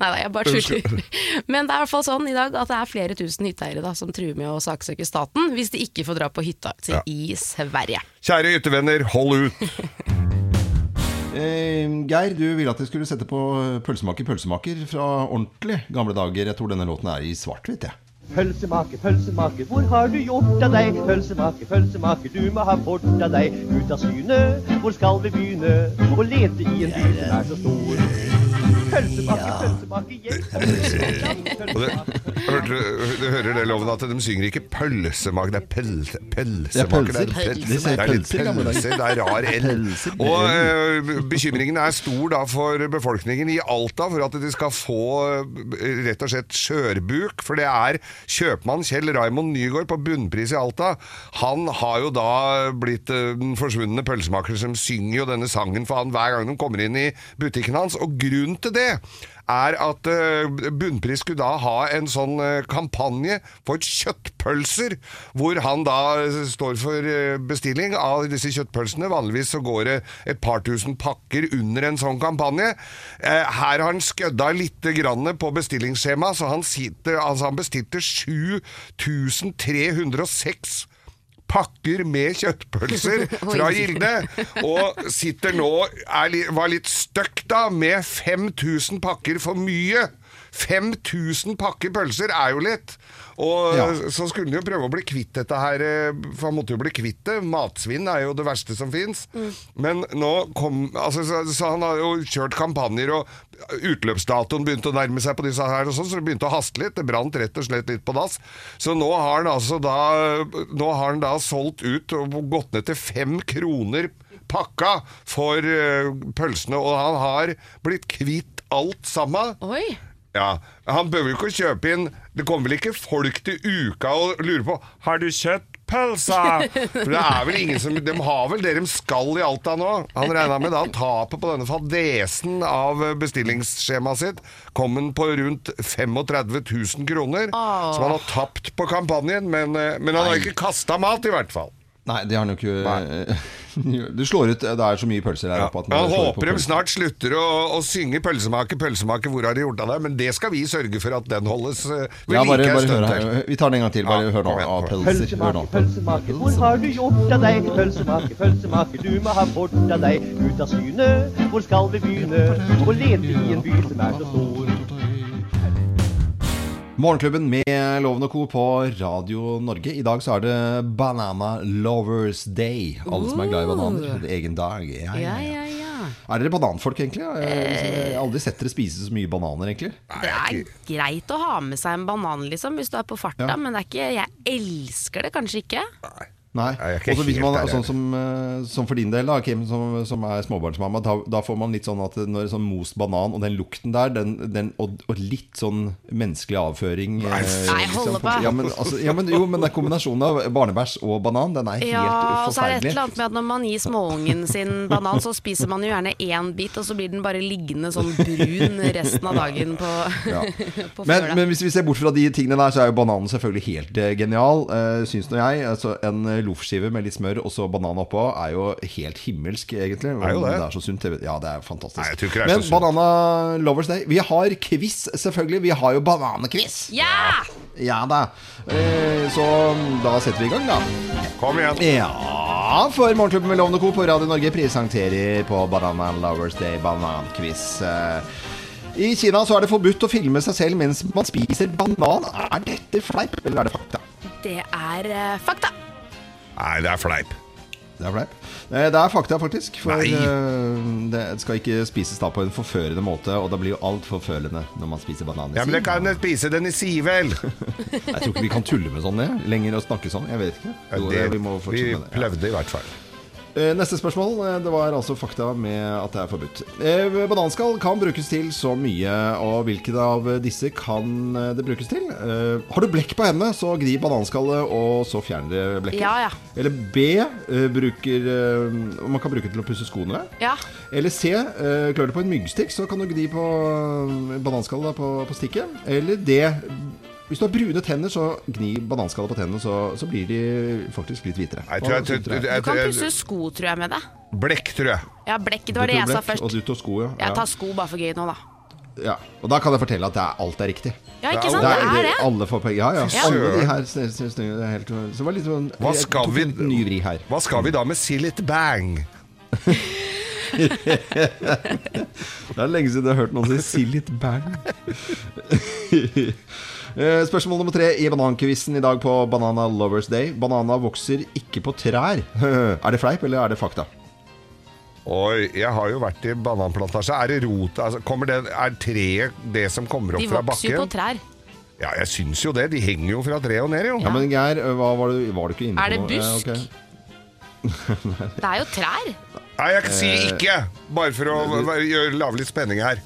[SPEAKER 3] Nei da, jeg bare tuller. Men det er i hvert fall sånn i dag at det er flere tusen hytteeiere da, som truer med å saksøke staten hvis de ikke får dra på hytta si
[SPEAKER 2] Ja.
[SPEAKER 3] i Sverige.
[SPEAKER 2] Kjære hyttevenner, hold ut!
[SPEAKER 1] Eh, Geir, du ville at jeg skulle sette på pølsemaker, pølsemaker fra ordentlig gamle dager. Jeg tror denne låten er i svart-hvitt, jeg.
[SPEAKER 14] Pølsemaker, pølsemaker, hvor har du gjort av deg? Pølsemaker, pølsemaker, du må ha fort av deg. Ut av syne, hvor skal vi begynne? Å lete i en by som er så stor. Pølsemaker, pølsemaker, hjelp
[SPEAKER 2] Og det, hørte, du- du hører det, Loven, at de synger ikke pølsemaker, det er pølse, pølsemaker.
[SPEAKER 1] Det er pølser. De sier
[SPEAKER 2] Det er litt
[SPEAKER 1] pølser i gamle dager.
[SPEAKER 2] pølser, det er rar L.
[SPEAKER 1] Pølser.
[SPEAKER 2] Og eh, bekymringen er stor da for befolkningen i Alta for at de skal få eh, rett og slett skjørbuk, for det er kjøpmann Kjell Raimond Nygaard på bunnpris i Alta. Han har jo da blitt eh, den forsvunne pølsemakeren som synger jo denne sangen for han hver gang de kommer inn i butikken hans, og grunnen til det er at eh, Bunnpris skulle da ha en sånn eh, kampanje for kjøttpølser, hvor han da eh, står for eh, bestilling av disse kjøttpølsene. Vanligvis så går det et par tusen pakker under en sånn kampanje. Eh, Her har han skødda litt grann på bestillingsskjema, så han, sitter, altså han bestilte 7306 pakker med kjøttpølser fra
[SPEAKER 5] Oi.
[SPEAKER 2] Gilde, og sitter nå, er, li- var litt støkk da, med 5000 pakker for mye. 5000 pakker pølser er jo litt! Og
[SPEAKER 10] Ja.
[SPEAKER 2] så skulle han jo prøve å bli kvitt dette her, eh, for han måtte jo bli kvitt det. Matsvinn er jo det verste som fins. Men nå kom altså, så, så han har jo kjørt kampanjer, og utløpsdatoen begynte å nærme seg på disse her, og sånn, så det begynte å haste litt. Det brant rett og slett litt på dass. Så nå har han altså da, nå har han da solgt ut og gått ned til fem kroner pakka for eh, pølsene, og han har blitt kvitt alt sammen.
[SPEAKER 3] Oi.
[SPEAKER 2] Ja, Han behøver jo ikke å kjøpe inn Det kommer vel ikke folk til uka og lurer på Har du kjøttpølsa? For det er vel ingen som De har vel det de skal i Alta nå. Han regna med da tapet på denne fadesen av bestillingsskjemaet sitt kom han på rundt 35 000 kroner.
[SPEAKER 3] Åh.
[SPEAKER 2] Som han har tapt på kampanjen, men, eh, men han har ikke kasta mat, i hvert fall.
[SPEAKER 1] Nei, det har han jo ikke Du slår ut Det er så mye pølser der oppe at
[SPEAKER 2] Jeg
[SPEAKER 1] man slår ut på
[SPEAKER 2] håper de
[SPEAKER 1] pølser.
[SPEAKER 2] snart slutter å, å synge 'Pølsemaker, pølsemaker, hvor har de gjort av deg?' Men det skal vi sørge for at den holdes eh, ved
[SPEAKER 1] Ja, bare,
[SPEAKER 2] like en
[SPEAKER 1] bare
[SPEAKER 2] stund
[SPEAKER 1] hør
[SPEAKER 2] til.
[SPEAKER 1] her. Vi tar den en gang til. Bare hør nå.
[SPEAKER 2] kom igjen,
[SPEAKER 1] Ah,
[SPEAKER 2] kom
[SPEAKER 1] pølser. Hør nå.
[SPEAKER 14] Pølsemaker, hvor har du gjort av deg? Pølsemaker, pølsemaker, du må ha bort av deg. Ut av syne, hvor skal vi begynne? Å lete i en by som er så stor.
[SPEAKER 1] Morgenklubben med Loven og Co. på Radio Norge. I dag så er det Banana Lovers Day. Alle som er glad i bananer.
[SPEAKER 3] Ooh.
[SPEAKER 1] Det er Egen dag. Ja,
[SPEAKER 3] Ja,
[SPEAKER 1] ja, ja.
[SPEAKER 3] ja, ja.
[SPEAKER 1] Er dere bananfolk, egentlig? Jeg har liksom- jeg har aldri sett dere spise så mye bananer, egentlig.
[SPEAKER 3] Det er greit å ha med seg en banan liksom, hvis du er på farta, men det er ikke, jeg elsker det kanskje ikke.
[SPEAKER 1] Nei.
[SPEAKER 2] ikke
[SPEAKER 1] Også hvis
[SPEAKER 2] helt
[SPEAKER 1] man,
[SPEAKER 2] der, jeg.
[SPEAKER 1] sånn som, eh, som for din del, da, Kim, som, som er småbarnsmamma, da, da får man litt sånn at når det er sånn most banan og den lukten der, den, den, og, og litt sånn menneskelig avføring eh,
[SPEAKER 2] Nei, liksom.
[SPEAKER 3] Nei, hold på.
[SPEAKER 1] Ja, men, altså, ja, men, jo, men det er kombinasjonen av barnebæsj og banan. Den er helt
[SPEAKER 3] Ja, og så er det et
[SPEAKER 1] forferdelig.
[SPEAKER 3] eller annet med at når man gir småungen sin banan, så spiser man jo gjerne én bit, og så blir den bare liggende sånn brun resten av dagen på,
[SPEAKER 1] Ja.
[SPEAKER 3] på
[SPEAKER 1] Men,
[SPEAKER 3] fjøla.
[SPEAKER 1] men hvis vi ser bort fra de tingene der, så er jo bananen selvfølgelig helt eh, genial. Uh, syns nå jeg. Altså, en eh, loffskive med litt smør og så banan oppå er jo helt himmelsk, egentlig.
[SPEAKER 2] Er jo det.
[SPEAKER 1] er så sunt. jeg vet- Ja, det er fantastisk.
[SPEAKER 2] Nei, jeg tror ikke det er
[SPEAKER 1] men
[SPEAKER 2] så sunt.
[SPEAKER 1] Banana Lovers Day. Vi har quiz, selvfølgelig. Vi har jo bananekviss.
[SPEAKER 3] Ja!
[SPEAKER 1] Ja da. Eh, så da setter vi i gang, da.
[SPEAKER 2] Kom igjen.
[SPEAKER 1] Ja, for Morgenklubben med Lovende Co. på Radio Norge presenterer på Banana Lovers Day bananquiz. Eh, I Kina så er det forbudt å filme seg selv mens man spiser banan. Er dette fleip, eller er det fakta?
[SPEAKER 3] Det er eh, fakta.
[SPEAKER 2] Nei, det er fleip.
[SPEAKER 1] Det er fleip. Eh, Det er fakta, faktisk. For
[SPEAKER 2] Nei.
[SPEAKER 1] eh, det skal ikke spises da på en forførende måte, og det blir jo alt forførende når man spiser banan. i
[SPEAKER 2] Ja, men det
[SPEAKER 1] Kina.
[SPEAKER 2] kan jeg spise den i sivel.
[SPEAKER 1] Jeg tror ikke vi kan tulle med sånn jeg, lenger og snakke sånn. Jeg vet ikke. Jo,
[SPEAKER 2] det,
[SPEAKER 1] vi må
[SPEAKER 2] vi
[SPEAKER 1] fortsette med det.
[SPEAKER 2] prøvde i hvert fall.
[SPEAKER 1] Eh, Neste spørsmål. eh, Det var altså fakta med at det er forbudt. Eh, Bananskall kan brukes til så mye, og hvilke av disse kan eh, det brukes til? Eh, Har du blekk på hendene, så grip bananskallet, og så fjern det blekket.
[SPEAKER 3] Ja, ja.
[SPEAKER 1] Eller B eh, bruker eh, Man kan bruke det til å pusse skoene.
[SPEAKER 3] Ja.
[SPEAKER 1] Eller C eh, klør du på en myggstikk, så kan du gni på eh, bananskallet da, på, på stikket. Eller D hvis du har brune tenner, så gni bananskallet på tennene, så, så blir de faktisk litt hvitere.
[SPEAKER 2] Jeg tror jeg-
[SPEAKER 1] Og suntere.
[SPEAKER 2] jeg-
[SPEAKER 3] Du kan pusse sko, tror jeg, med det.
[SPEAKER 2] Blekk, tror jeg.
[SPEAKER 3] Ja, blekk. Det var det
[SPEAKER 1] Du
[SPEAKER 3] jeg
[SPEAKER 1] tar
[SPEAKER 3] sa
[SPEAKER 1] blekk, Og
[SPEAKER 3] først.
[SPEAKER 1] du tar sko, ja.
[SPEAKER 3] Jeg tar sko bare for gøy nå, da.
[SPEAKER 1] ja. Og da kan jeg fortelle at det er, alt er riktig.
[SPEAKER 3] Ja, ikke sant? Det er det.
[SPEAKER 1] Alle får penger. Ja, ja.
[SPEAKER 3] Fy
[SPEAKER 1] Alle
[SPEAKER 2] søren.
[SPEAKER 1] de her sne- sne- sne- det er helt, Så det var litt sånn
[SPEAKER 2] Hva skal vi,
[SPEAKER 1] Ny vri her.
[SPEAKER 2] hva skal vi da med Sillit Bang?
[SPEAKER 1] Det er lenge siden jeg har hørt noen si 'si litt bang'. Eh, Spørsmål nummer tre i banankvisten i dag på Banana Lovers Day. Banana vokser ikke på trær. Er det fleip, eller er det fakta?
[SPEAKER 2] Oi, jeg har jo vært i bananplantasje. Er det rot? Altså, kommer det, er treet det som kommer opp
[SPEAKER 3] De
[SPEAKER 2] fra
[SPEAKER 3] vokser jo på
[SPEAKER 2] bakken?
[SPEAKER 3] trær.
[SPEAKER 2] Ja, jeg syns jo det. De henger jo fra treet og ned, jo.
[SPEAKER 1] Ja, men Geir, hva var, du, var du ikke inne
[SPEAKER 3] Er det
[SPEAKER 1] på? noe? Eh,
[SPEAKER 3] busk?
[SPEAKER 1] ok.
[SPEAKER 3] Det er jo trær.
[SPEAKER 2] Nei, jeg sier ikke! Bare for å
[SPEAKER 1] Eh,
[SPEAKER 2] v- gjøre- lage litt spenning her.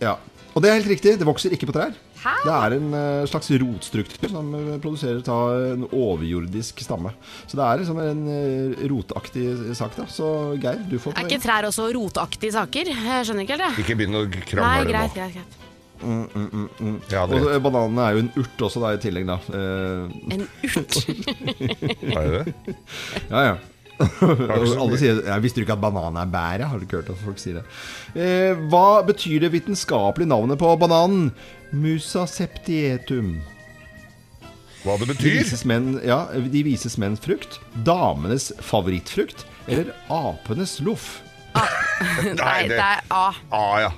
[SPEAKER 1] Ja. Og det er helt riktig, det vokser ikke på trær.
[SPEAKER 3] Hæ?
[SPEAKER 1] Det er en eh, slags rotstruktur som eh, produseres av en overjordisk stamme. Så det er liksom en eh, rotaktig sak, da. Så Geir, du får
[SPEAKER 3] Er ikke trær også rotaktige saker? Jeg skjønner ikke helt det.
[SPEAKER 2] Ikke begynn å
[SPEAKER 3] Nei,
[SPEAKER 2] krangle nå.
[SPEAKER 3] greit, greit, greit.
[SPEAKER 1] Mm, mm, mm, mm.
[SPEAKER 2] Ja, det
[SPEAKER 1] Og
[SPEAKER 2] er
[SPEAKER 1] eh, bananene er jo en urt også, da, i tillegg, da. Eh,
[SPEAKER 3] En urt.
[SPEAKER 2] Er det det?
[SPEAKER 1] ja, ja.
[SPEAKER 2] ikke så
[SPEAKER 1] Alle
[SPEAKER 2] mye.
[SPEAKER 1] sier Jeg visste jo ikke at banan er bær, jeg. Har du ikke hørt at folk sier det? Eh, hva betyr det vitenskapelige navnet på bananen? Musa septietum.
[SPEAKER 2] Hva det
[SPEAKER 1] De
[SPEAKER 2] betyr?
[SPEAKER 1] vises, menn, ja, de vises menns frukt, damenes favorittfrukt eller apenes loff.
[SPEAKER 3] Nei, det Ah, er A.
[SPEAKER 2] Ah, ja.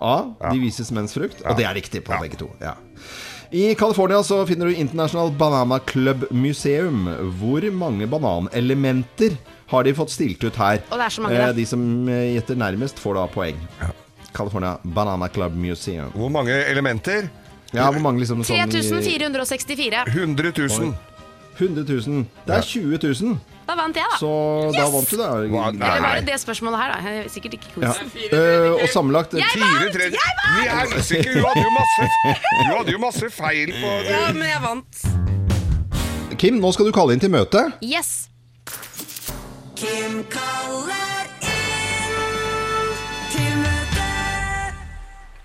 [SPEAKER 1] A. De vises mens frukt. Og det er riktig på begge to. Ja. I California så finner du International Banana Club Museum. Hvor mange bananelementer har de fått stilt ut her?
[SPEAKER 3] Og det er så mange,
[SPEAKER 1] Eh,
[SPEAKER 3] da.
[SPEAKER 1] De som eh, gjetter nærmest, får da poeng. California Banana Club Museum.
[SPEAKER 2] Hvor mange elementer?
[SPEAKER 1] Ja, hvor mange liksom sånn i-
[SPEAKER 3] 3464.
[SPEAKER 2] 100 000.
[SPEAKER 1] 100 000. Det er 20 000.
[SPEAKER 3] Da vant jeg, da.
[SPEAKER 1] Så da
[SPEAKER 3] Yes!
[SPEAKER 1] vant du, da.
[SPEAKER 3] Eller var det det spørsmålet her, da? Jeg er Sikkert ikke
[SPEAKER 1] Ja.
[SPEAKER 3] quiz.
[SPEAKER 1] Eh, og sammenlagt
[SPEAKER 3] Jeg vant! Jeg vant!
[SPEAKER 2] Vi er usikre. Hun hadde jo masse, hun hadde jo masse feil på
[SPEAKER 3] Ja, men jeg vant.
[SPEAKER 1] Kim, nå skal du kalle inn til møte.
[SPEAKER 3] Yes.
[SPEAKER 8] Kim kaller inn til møte.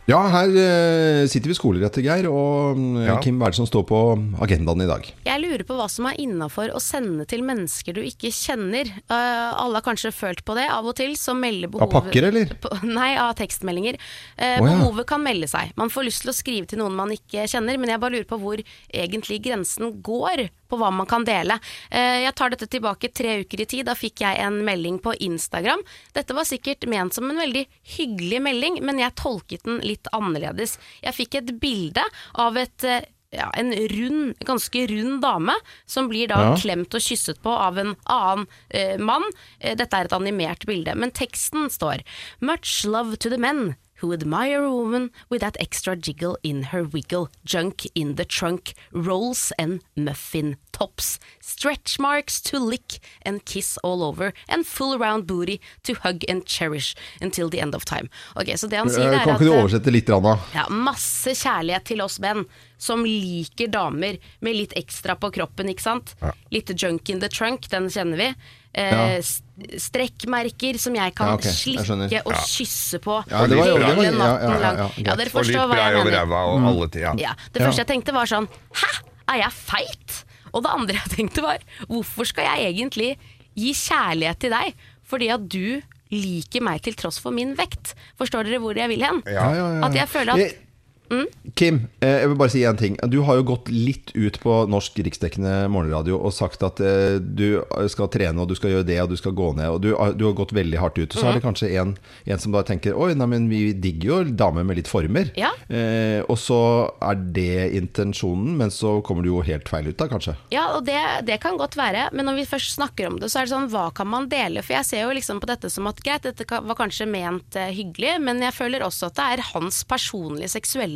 [SPEAKER 1] Ja, her eh, sitter vi skolerette, Geir. Og eh,
[SPEAKER 2] Ja.
[SPEAKER 1] Kim, hva er det som står på agendaen i dag?
[SPEAKER 3] Jeg lurer på hva som er innafor å sende til mennesker du ikke kjenner. Eh, alle har kanskje følt på det av og til, så melder
[SPEAKER 1] Av
[SPEAKER 3] behovet
[SPEAKER 1] pakker, eller?
[SPEAKER 3] På- Nei, av tekstmeldinger. Eh,
[SPEAKER 1] Å, ja.
[SPEAKER 3] Behovet kan melde seg. Man får lyst til å skrive til noen man ikke kjenner, men jeg bare lurer på hvor egentlig grensen går på hva man kan dele. Eh, jeg tar dette tilbake tre uker i tid. Da fikk jeg en melding på Instagram. Dette var sikkert ment som en veldig hyggelig melding, men jeg tolket den litt annerledes. Jeg fikk et bilde av et eh, ja, en rund, ganske rund dame som blir da
[SPEAKER 5] Ja.
[SPEAKER 3] klemt og kysset på av en annen eh, mann. Eh, dette er et animert bilde, men teksten står Much love to the men who admire a woman with that extra jiggle in her wiggle, junk in the trunk, rolls and muffin tops, stretch marks to lick and kiss all over, and full round booty to hug and cherish until the end of time. Ok, så det han sier
[SPEAKER 1] Eh,
[SPEAKER 3] er
[SPEAKER 1] kan
[SPEAKER 3] at
[SPEAKER 1] ikke du oversette litt, grann, da?
[SPEAKER 3] ja, masse kjærlighet til oss menn som liker damer med litt ekstra på kroppen, ikke sant? Litt junk in the trunk, den kjenner vi. Eh,
[SPEAKER 1] Ja.
[SPEAKER 3] s- Strekkmerker som jeg kan
[SPEAKER 1] Ja, ok, jeg skjønner.
[SPEAKER 3] slikke og
[SPEAKER 1] Ja.
[SPEAKER 3] kysse på
[SPEAKER 1] Ja, det var jo-
[SPEAKER 3] hele
[SPEAKER 1] det var- ja, ja,
[SPEAKER 3] natten
[SPEAKER 1] ja, ja,
[SPEAKER 3] lang.
[SPEAKER 1] ja,
[SPEAKER 3] Ja,
[SPEAKER 1] greit.
[SPEAKER 3] dere
[SPEAKER 2] Og litt
[SPEAKER 3] forstår hva
[SPEAKER 2] brei
[SPEAKER 3] jeg
[SPEAKER 2] over
[SPEAKER 3] mener. Mm.
[SPEAKER 2] ræva og alle tida.
[SPEAKER 3] Ja, det første jeg tenkte var sånn Hæ, er jeg feit? Og det andre jeg tenkte var Hvorfor skal jeg egentlig gi kjærlighet til deg fordi at du liker meg til tross for min vekt? Forstår dere hvor jeg vil hen?
[SPEAKER 1] Ja, ja, ja, ja.
[SPEAKER 3] At jeg føler
[SPEAKER 1] Jeg-
[SPEAKER 3] at mm,
[SPEAKER 1] Kim, eh, jeg vil bare si én ting. Du har jo gått litt ut på norsk riksdekkende morgenradio og sagt at eh, du skal trene og du skal gjøre det og du skal gå ned. Og du, har- du har gått veldig hardt ut. Og så er
[SPEAKER 3] Mhm.
[SPEAKER 1] det kanskje en, en som da tenker Oi, nei, men vi digger jo damer med litt former.
[SPEAKER 3] Ja.
[SPEAKER 1] Eh, og så er det intensjonen, men så kommer du jo helt feil ut da, kanskje.
[SPEAKER 3] Ja, og det, det kan godt være, men når vi først snakker om det, så er det sånn, hva kan man dele? For jeg ser jo liksom på dette som at greit, dette ka- var kanskje ment eh, hyggelig, men jeg føler også at det er hans personlige seksuelle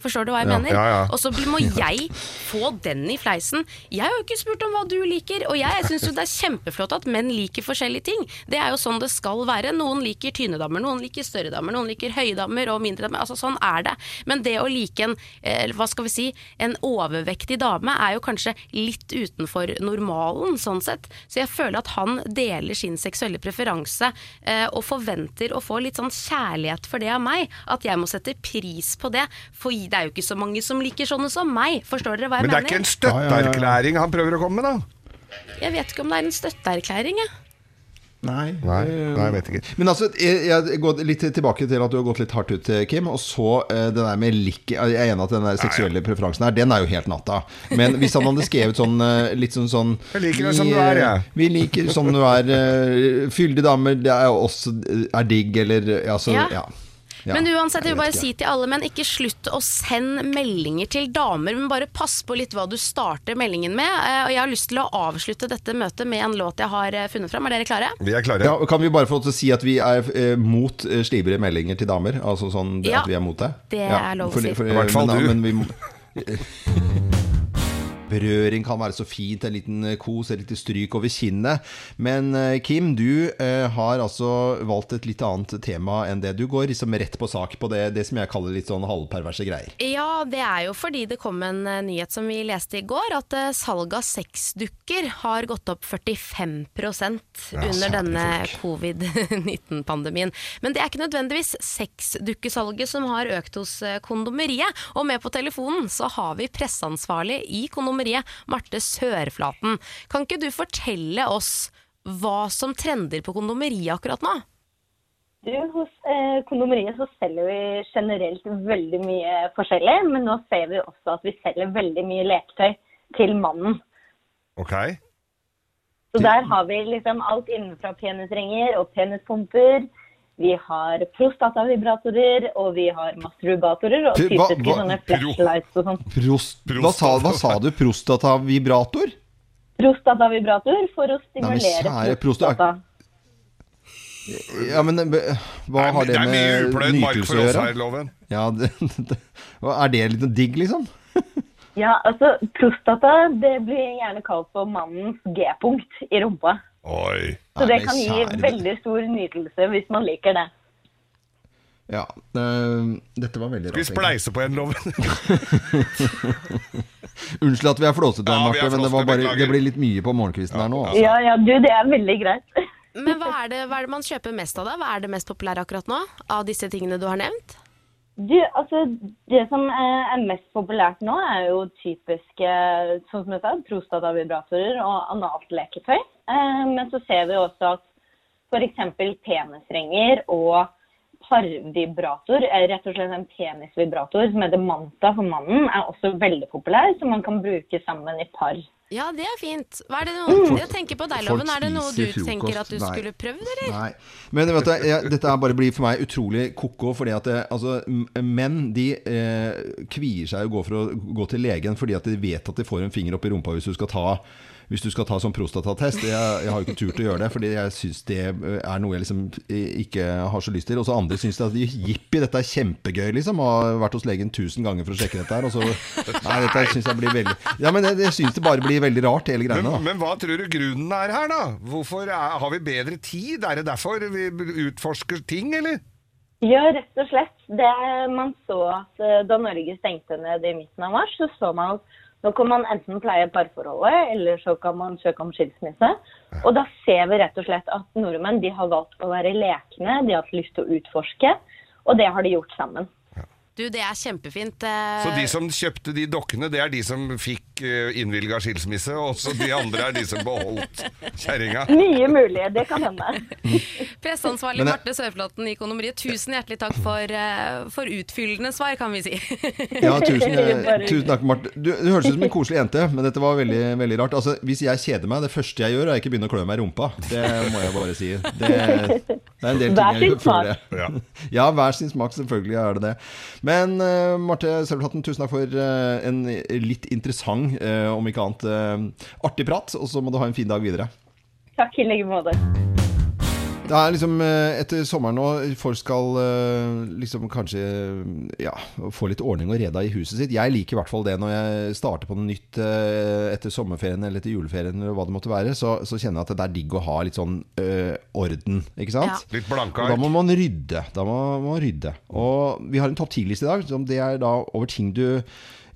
[SPEAKER 3] Forstår du hva jeg
[SPEAKER 5] Ja,
[SPEAKER 3] mener?
[SPEAKER 5] ja, ja.
[SPEAKER 3] Og så blir- må jeg få den i fleisen. Jeg har jo ikke spurt om hva du liker, og jeg syns jo det er kjempeflott at menn liker forskjellige ting. Det er jo sånn det skal være. Noen liker tynne damer, noen liker større damer, noen liker høye damer og mindre damer. Altså sånn er det. Men det å like en, eh, hva skal vi si, en overvektig dame er jo kanskje litt utenfor normalen sånn sett. Så jeg føler at han deler sin seksuelle preferanse eh, og forventer å få litt sånn kjærlighet for det av meg. At jeg må sette pris på det, for det er jo ikke så mange som liker sånne som meg. Forstår dere hva jeg
[SPEAKER 2] Men det er
[SPEAKER 3] mener?
[SPEAKER 2] ikke en støtteerklæring han prøver å komme med, da?
[SPEAKER 3] Jeg vet ikke om det er en støtteerklæring, jeg.
[SPEAKER 1] Nei,
[SPEAKER 2] nei, jeg vet ikke.
[SPEAKER 1] Men altså, jeg, jeg går litt tilbake til at du har gått litt hardt ut, Kim. Og så eh, den der med lik Jeg er enig at den der seksuelle preferansen her, den er jo helt natta. Men hvis han hadde skrevet sånn eh, litt sånn sånn
[SPEAKER 2] Jeg liker deg
[SPEAKER 1] vi,
[SPEAKER 2] som du er,
[SPEAKER 1] eh,
[SPEAKER 2] jeg.
[SPEAKER 1] Vi liker som du er. eh, Fyldige damer, det er jo også er digg, eller eh, Altså,
[SPEAKER 3] Ja.
[SPEAKER 1] ja. ja.
[SPEAKER 3] Men uansett, jeg vil bare
[SPEAKER 1] vet ikke.
[SPEAKER 3] si til alle menn, ikke slutt å sende meldinger til damer, men bare pass på litt hva du starter meldingen med. Eh, Og jeg har lyst til å avslutte dette møtet med en låt jeg har eh, funnet fram. Er dere klare?
[SPEAKER 2] Vi er klare.
[SPEAKER 1] Ja, og kan vi bare få lov til å si at vi er eh, mot eh, slibrige meldinger til damer? Altså sånn det
[SPEAKER 3] Ja,
[SPEAKER 1] at vi er mot det?
[SPEAKER 3] det er lov å si.
[SPEAKER 2] I hvert fall
[SPEAKER 1] men,
[SPEAKER 2] du.
[SPEAKER 1] ja, Men vi må... Berøring kan være så fint, en liten eh, kos, et lite stryk over kinnet. Men eh, Kim, du eh, har altså valgt et litt annet tema enn det. Du går liksom rett på sak på det, det som jeg kaller litt sånn halvperverse greier.
[SPEAKER 3] Ja, det er jo fordi det kom en eh, nyhet som vi leste i går, at eh, salget av sexdukker har gått opp 45
[SPEAKER 5] Ja,
[SPEAKER 3] under
[SPEAKER 5] særlig
[SPEAKER 3] denne covid-19-pandemien. Men det er ikke nødvendigvis sexdukkesalget som har økt hos eh, kondomeriet. Og med på telefonen så har vi presseansvarlig i kondomeriet, Marte Sørflaten. Kan ikke du fortelle oss hva som trender på kondomeriet akkurat nå?
[SPEAKER 15] Du, hos eh, kondomeriet så selger vi generelt veldig mye forskjellig, men nå ser vi også at vi selger veldig mye leketøy til mannen.
[SPEAKER 2] Ok.
[SPEAKER 15] Så der har vi liksom alt innenfra penisringer og penispumper, Vi har prostatavibratorer, og vi har masturbatorer og
[SPEAKER 1] Pro- hva-
[SPEAKER 15] typiske
[SPEAKER 1] hva-
[SPEAKER 15] sånne
[SPEAKER 1] pro-
[SPEAKER 15] flashlights og sånn.
[SPEAKER 1] Prost, hva, sa, hva sa du? Prostatavibrator?
[SPEAKER 15] Prostatavibrator for å
[SPEAKER 1] men
[SPEAKER 15] stimulere
[SPEAKER 1] kjære prostata- Ja, men eh, hva har
[SPEAKER 2] det
[SPEAKER 1] det
[SPEAKER 2] er mye
[SPEAKER 1] med
[SPEAKER 2] upløyd mark
[SPEAKER 1] nytelse
[SPEAKER 2] for
[SPEAKER 1] å
[SPEAKER 2] oss her,
[SPEAKER 1] gjøre?
[SPEAKER 2] Loven.
[SPEAKER 1] Ja, det, det, hva, er det litt digg, liksom?
[SPEAKER 15] Ja, altså prostata det blir gjerne kalt for mannens G-punkt i rumpa.
[SPEAKER 2] Oi.
[SPEAKER 15] Så det kan gi veldig stor nytelse hvis man liker det.
[SPEAKER 1] Ja, eh, dette var veldig
[SPEAKER 2] Skal vi
[SPEAKER 1] rart. egentlig.
[SPEAKER 2] spleise på en, Loven?
[SPEAKER 1] Unnskyld at vi er flåsete,
[SPEAKER 2] Ja, vi er
[SPEAKER 1] Marte, men det, var
[SPEAKER 2] flåsete,
[SPEAKER 1] bare,
[SPEAKER 2] beklager.
[SPEAKER 1] det blir litt mye på morgenkvisten her nå. Altså.
[SPEAKER 15] Ja, ja, du, det er veldig greit.
[SPEAKER 3] Men hva er, det, hva er det man kjøper mest av da? Hva er det mest populære akkurat nå av disse tingene du har nevnt?
[SPEAKER 15] Du, altså, det som eh, er mest populært nå, er jo typiske sånn som jeg sa, prostatavibratorer og analt leketøy. Eh, men så ser vi jo også at f.eks. penisringer og parvibrator, eh, rett og slett en penisvibrator som heter Manta for mannen, er også veldig populær, som man kan bruke sammen i par.
[SPEAKER 3] Ja, det er fint. Hva er det noe, jeg tenker på deg,
[SPEAKER 1] Folk
[SPEAKER 3] Loven. Er det noe du
[SPEAKER 1] spiser frokost.
[SPEAKER 3] tenker at du
[SPEAKER 1] Nei.
[SPEAKER 3] skulle prøvd, eller?
[SPEAKER 1] Nei. Men vet du, jeg, dette her bare blir for meg utrolig koko, fordi at det, altså, m- menn de eh, kvier seg og går for å gå til legen fordi at de vet at de får en finger opp i rumpa hvis du skal ta hvis du skal ta sånn prostatatest. Jeg, jeg har jo ikke turt å gjøre det, fordi jeg syns det er noe jeg liksom ikke har så lyst til. Og så andre syns det at jippi, dette er kjempegøy, liksom. Har vært hos legen tusen ganger for å sjekke dette her. Og så Nei, dette syns jeg blir veldig Ja, men jeg, jeg syns det bare blir veldig rart, hele
[SPEAKER 2] Men,
[SPEAKER 1] greiene. da
[SPEAKER 2] men hva tror du grunnen er her, da? Hvorfor er, Har vi bedre tid? Er det derfor vi utforsker ting, eller?
[SPEAKER 15] Ja, rett og slett. Det man så at eh, da Norge stengte ned i midten av mars, så så man at nå kan man enten pleie parforholdet, eller så kan man søke om skilsmisse. Og da ser vi rett og slett at nordmenn de har valgt å være lekne, de har hatt lyst til å utforske, og det har de gjort sammen.
[SPEAKER 3] Du, det er kjempefint. eh,
[SPEAKER 2] Så de som kjøpte de dokkene, det er de som fikk eh, innvilga skilsmisse, og så de andre er de som beholdt kjerringa.
[SPEAKER 15] Mye mulig, det kan hende.
[SPEAKER 3] Presseansvarlig
[SPEAKER 2] Men jeg-
[SPEAKER 3] Marte Sørflåten i Økonomeriet, tusen hjertelig takk for, eh, for utfyllende svar, kan vi si.
[SPEAKER 1] Ja, tusen, eh, tusen takk, Marte. Du, du høres ut som en koselig jente, men dette var veldig, veldig rart. Altså, hvis jeg kjeder meg, det første jeg gjør, er ikke begynne å klø meg i rumpa. Det må jeg bare si. Det, det er en del
[SPEAKER 15] Hver
[SPEAKER 1] ting jeg
[SPEAKER 15] sin smak.
[SPEAKER 1] føler jeg. Ja, hver sin smak, selvfølgelig er det det. Men eh, Marte Sølvhatten, tusen takk for eh, en litt interessant, eh, om ikke annet, eh, artig prat. Og så må du ha en fin dag videre.
[SPEAKER 15] Takk i like måte.
[SPEAKER 1] Det er liksom eh, etter sommeren nå Folk skal eh, liksom kanskje eh, Ja, få litt ordning og reda i huset sitt Jeg liker i hvert fall det når jeg starter på noe nytt eh, Etter sommerferien eller etter juleferien Eller hva det måtte være Så, så kjenner jeg at det er digg å ha litt sånn eh, orden Ikke sant?
[SPEAKER 2] Litt blanke
[SPEAKER 1] Og
[SPEAKER 2] ark.
[SPEAKER 1] Da må man rydde Da må man rydde Og vi har en topp 10-liste i dag som Det er da over ting du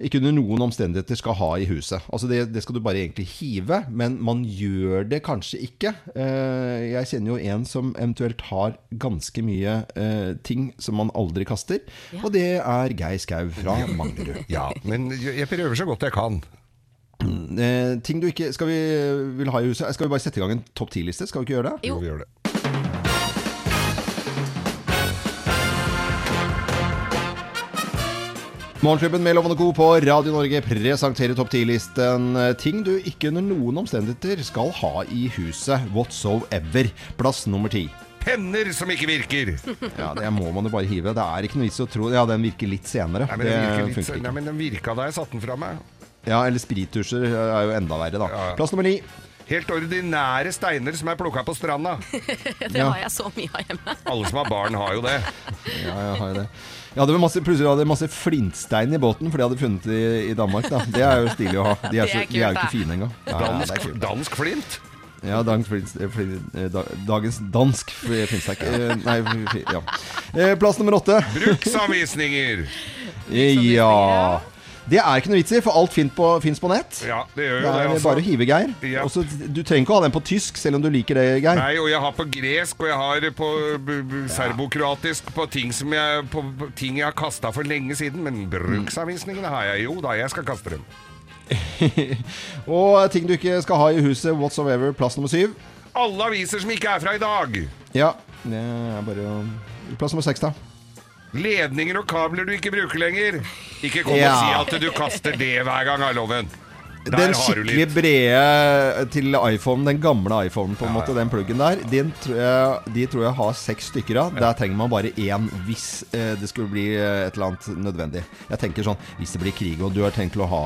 [SPEAKER 1] ikke under noen omstendigheter skal ha i huset. Altså det, det skal du bare egentlig hive, men man gjør det kanskje ikke. Eh, Jeg kjenner jo en som eventuelt har ganske mye eh, ting som man aldri kaster, og det er Geir Skau fra Manglerud.
[SPEAKER 2] Ja, men jeg jeg prøver så godt jeg kan.
[SPEAKER 1] Eh, Ting du ikke skal vi, vil ha i huset Skal vi bare sette i gang en topp 10-liste? Skal vi ikke gjøre det?
[SPEAKER 2] Jo, vi gjør det.
[SPEAKER 1] Morgenklubben med Lovende Co. på Radio Norge presenterer topp 10-listen ting du ikke under noen omstendigheter skal ha i huset whatsoever. Plass nummer ti.
[SPEAKER 2] Penner som ikke virker!
[SPEAKER 1] Ja, det må man jo bare hive. Det er ikke noe vits i å tro Ja, den virker litt senere.
[SPEAKER 2] Nei, men den, virker
[SPEAKER 1] det
[SPEAKER 2] litt,
[SPEAKER 1] funker
[SPEAKER 2] nei,
[SPEAKER 1] ikke.
[SPEAKER 2] men den virka da jeg satte den fra meg.
[SPEAKER 1] Ja, eller sprittusjer er jo enda verre, da.
[SPEAKER 2] ja.
[SPEAKER 1] Plass nummer ni.
[SPEAKER 2] Helt ordinære steiner som er plukka på stranda.
[SPEAKER 3] det
[SPEAKER 1] Ja.
[SPEAKER 3] har jeg så mye av hjemme.
[SPEAKER 2] Alle som har barn, har jo det.
[SPEAKER 1] Ja, jeg har jo det. Jeg hadde masse, plutselig hadde jeg masse flintstein i båten, for de hadde funnet i, i Danmark. da Det er jo stilig å ha. De
[SPEAKER 2] Det
[SPEAKER 1] er, så,
[SPEAKER 2] er
[SPEAKER 1] de er jo
[SPEAKER 2] kult,
[SPEAKER 1] ikke
[SPEAKER 2] det.
[SPEAKER 1] fine engang. Ja, ja, det er
[SPEAKER 2] Dansk,
[SPEAKER 1] kult.
[SPEAKER 2] dansk flint.
[SPEAKER 1] Ja, dansk, flint- eh, flint- eh, da- dagens dansk f- flintstein. Eh, Nei, f- ja. Eh, Plass nummer åtte.
[SPEAKER 2] Bruksanvisninger!
[SPEAKER 1] Eh, Ja. Det er ikke noe vits i, for alt fins på, finnes på nett.
[SPEAKER 2] Ja, det gjør
[SPEAKER 1] Det
[SPEAKER 2] jo det.
[SPEAKER 1] er
[SPEAKER 2] altså.
[SPEAKER 1] bare å hive, Geir.
[SPEAKER 2] Ja.
[SPEAKER 1] Også, du trenger ikke å ha den på tysk, selv om du liker det, Geir.
[SPEAKER 2] Nei, og jeg har på gresk, og jeg har på b- b- serbokroatisk, på ting, som jeg, på på ting jeg har kasta for lenge siden. Men bruksanvisningene har jeg jo, da. Jeg skal kaste dem.
[SPEAKER 1] Og ting du ikke skal ha i huset whatsoever, plass nummer syv.
[SPEAKER 2] Alle aviser som ikke er fra i dag!
[SPEAKER 1] Ja, det er bare å Plass nummer seks, da.
[SPEAKER 2] Ledninger og kabler du ikke bruker lenger. Ikke kom
[SPEAKER 1] Ja.
[SPEAKER 2] og si at du kaster det hver gang, har loven. Der
[SPEAKER 1] den
[SPEAKER 2] har du
[SPEAKER 1] skikkelig brede eh, til iPhone, den gamle iPhonen, på en måte, den pluggen der, den tror jeg, de tror jeg har seks stykker av. Der trenger man bare én hvis eh, det skulle bli eh, et eller annet nødvendig. Jeg tenker sånn Hvis det blir krig, og du har tenkt til å ha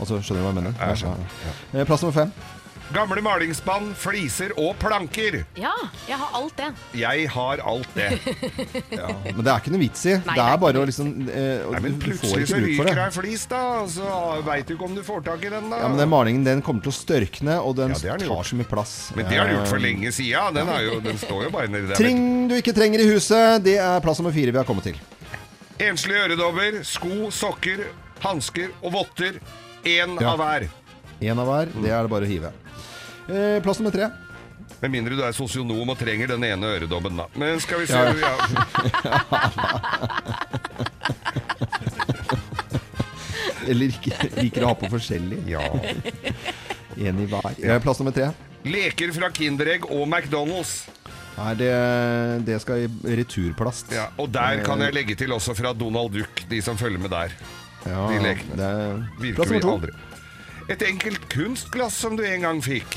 [SPEAKER 1] Altså, Skjønner du hva jeg mener?
[SPEAKER 2] Ja, jeg skjønner.
[SPEAKER 1] Ja. Eh, Plass nummer fem.
[SPEAKER 2] Gamle malingsspann, fliser og planker.
[SPEAKER 3] Ja, jeg har alt det.
[SPEAKER 2] Jeg har alt det.
[SPEAKER 1] Men det er ikke noe vits i.
[SPEAKER 2] Nei,
[SPEAKER 1] det
[SPEAKER 2] det er
[SPEAKER 1] er bare å liksom eh, og
[SPEAKER 2] Nei, men
[SPEAKER 1] Du får
[SPEAKER 2] plutselig så
[SPEAKER 1] ikke bruk for
[SPEAKER 2] ryker ei
[SPEAKER 1] det.
[SPEAKER 2] flis, da. og Så veit du ikke om du får tak i den, da.
[SPEAKER 1] Ja, men den malingen den kommer til å størkne, og den,
[SPEAKER 2] det har den
[SPEAKER 1] tar så mye plass.
[SPEAKER 2] Men det har du gjort for
[SPEAKER 1] Eh,
[SPEAKER 2] lenge sida. Den, er jo- den står jo bare nedi der.
[SPEAKER 1] Ting du ikke trenger i huset, det er plass nummer fire vi har kommet til.
[SPEAKER 2] Enslige øredobber, sko, sokker, hansker og votter. Én
[SPEAKER 1] Ja.
[SPEAKER 2] av hver.
[SPEAKER 1] Én av hver, det er det bare å hive. Eh, plass nummer tre.
[SPEAKER 2] Med mindre du er sosionom og trenger den ene øredobben, da. Men skal vi se
[SPEAKER 1] Ja.
[SPEAKER 2] ja.
[SPEAKER 1] Eller ikke, liker å ha på forskjellig. Ja. Én i hver. Eh, plass nummer tre.
[SPEAKER 2] Leker fra Kinderegg og McDonald's.
[SPEAKER 1] Nei, det, det skal i returplast.
[SPEAKER 2] Ja, og der kan jeg legge til også fra Donald Duck, de som følger med der.
[SPEAKER 1] Ja,
[SPEAKER 2] de lekene.
[SPEAKER 1] Det er...
[SPEAKER 2] Virker
[SPEAKER 1] Plass
[SPEAKER 2] vi
[SPEAKER 1] nummer to.
[SPEAKER 2] aldri. Et enkelt kunstglass som du en gang fikk.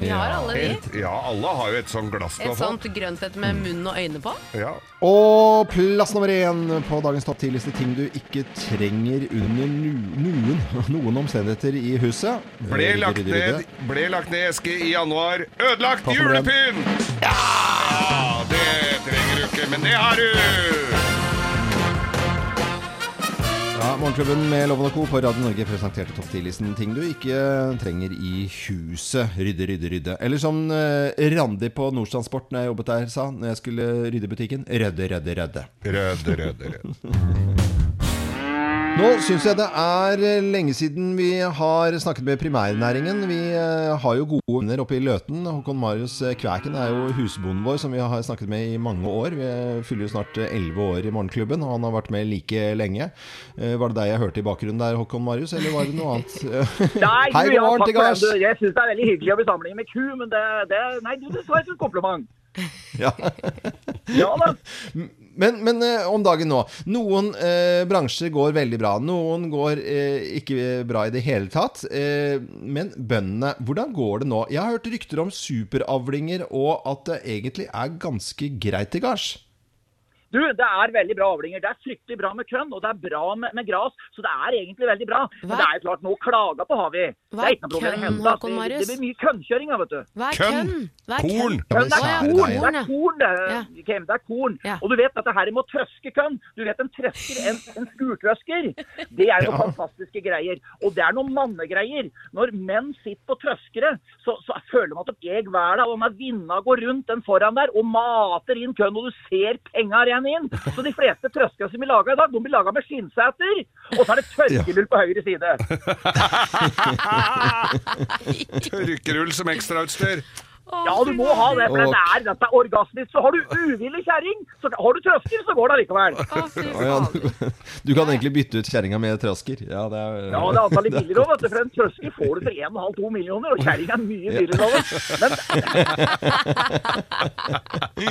[SPEAKER 3] Vi har alle de.
[SPEAKER 2] Et, ja, alle har jo et sånt glass. du har
[SPEAKER 3] Et
[SPEAKER 2] fått.
[SPEAKER 3] sånt grønt et med munn og øyne på.
[SPEAKER 2] Ja.
[SPEAKER 1] Og plass nummer én på dagens topp 10-liste ting du ikke trenger under nu, noen, noen omstendigheter i huset.
[SPEAKER 2] Ble
[SPEAKER 1] Rydde,
[SPEAKER 2] lagt
[SPEAKER 1] rydde, rydde.
[SPEAKER 2] ned, ble lagt ned i eske i januar. Ødelagt
[SPEAKER 1] Takk for den.
[SPEAKER 2] julepynt! Ja, det trenger du ikke, men det har du!
[SPEAKER 1] Ja, Morgenklubben med Loven og Co. på Radio Norge presenterte topp 10-listen ting du ikke trenger i huset. Rydde, rydde, rydde. Eller som eh, Randi på Nordstrandsport når jeg jobbet der sa når jeg skulle rydde butikken. Rødde, rødde, rødde.
[SPEAKER 2] Rødde, rødde, rødde.
[SPEAKER 1] Nå syns jeg det er eh, lenge siden vi har snakket med primærnæringen. Vi eh, har jo gode venner oppe i Løten. Håkon Marius eh, Kvæken er jo husbonden vår, som vi har snakket med i mange år. Vi eh, fyller jo snart elleve år i Morgenklubben, og han har vært med like lenge. Eh, Var det deg jeg hørte i bakgrunnen der, Håkon Marius, eller var det noe annet?
[SPEAKER 5] Nei,
[SPEAKER 1] Hei,
[SPEAKER 5] du,
[SPEAKER 1] god morgen,
[SPEAKER 5] ja, takk for
[SPEAKER 1] Diggars.
[SPEAKER 5] det. Du, Jeg syns det er veldig hyggelig å bli sammenlignet med ku, men det, det Nei, du, det var et kompliment.
[SPEAKER 1] Ja. Men, men eh, om dagen nå. Noen eh, bransjer går veldig bra. Noen går eh, ikke bra i det hele tatt. Eh, men bøndene, hvordan går det nå? Jeg har hørt rykter om superavlinger, og at det egentlig er ganske greit i gards.
[SPEAKER 5] Du, det er veldig bra avlinger. Det er fryktelig bra med kønn, og det er bra med, med gras. Så det er egentlig veldig bra. Men det er jo klart, nå klager på har vi.
[SPEAKER 3] Hva
[SPEAKER 5] det
[SPEAKER 3] er
[SPEAKER 5] er ikke
[SPEAKER 3] kønn,
[SPEAKER 5] noe problem i det hele tatt.
[SPEAKER 3] Håkon
[SPEAKER 5] Det-
[SPEAKER 3] Marius?
[SPEAKER 5] Det blir mye kønnkjøring, ja, vet du.
[SPEAKER 3] Hva er Kønn? kønn? Hva er Korn. kønn?
[SPEAKER 5] Kønn, det
[SPEAKER 3] Å, ja,
[SPEAKER 5] er korn.
[SPEAKER 3] korn,
[SPEAKER 5] Det
[SPEAKER 3] ja.
[SPEAKER 5] er korn, det. Kim, det er korn. Og du vet at det her med å trøske kønn, du vet en trøsker, en, en skurtrøsker, det er noen
[SPEAKER 16] Ja.
[SPEAKER 5] fantastiske greier. Og det er noen mannegreier. Når menn sitter på trøskere, så, så føler man at de eier verden, og når vinda går rundt den foran der, og mater inn kønn, og du ser penga renne inn. Så de fleste trøskere som blir laga i dag, de blir laga med skinnseter, og så er det tørkelull på høyre side.
[SPEAKER 2] Tørkerull som ekstrautstyr.
[SPEAKER 5] Ja, du må ha det, for
[SPEAKER 2] Og-
[SPEAKER 5] det er, dette er orgasmisk. Så har du uvillig kjerring, så har du trøsker, så går det allikevel.
[SPEAKER 1] Å ja, du, du kan egentlig bytte ut kjerringa med trasker. Ja, det er,
[SPEAKER 5] Ja, det er altså antallet billigere òg, vet du. For en trøsker får du for 1,5-2 millioner, og kjerring er mye dyrere nå. vet du.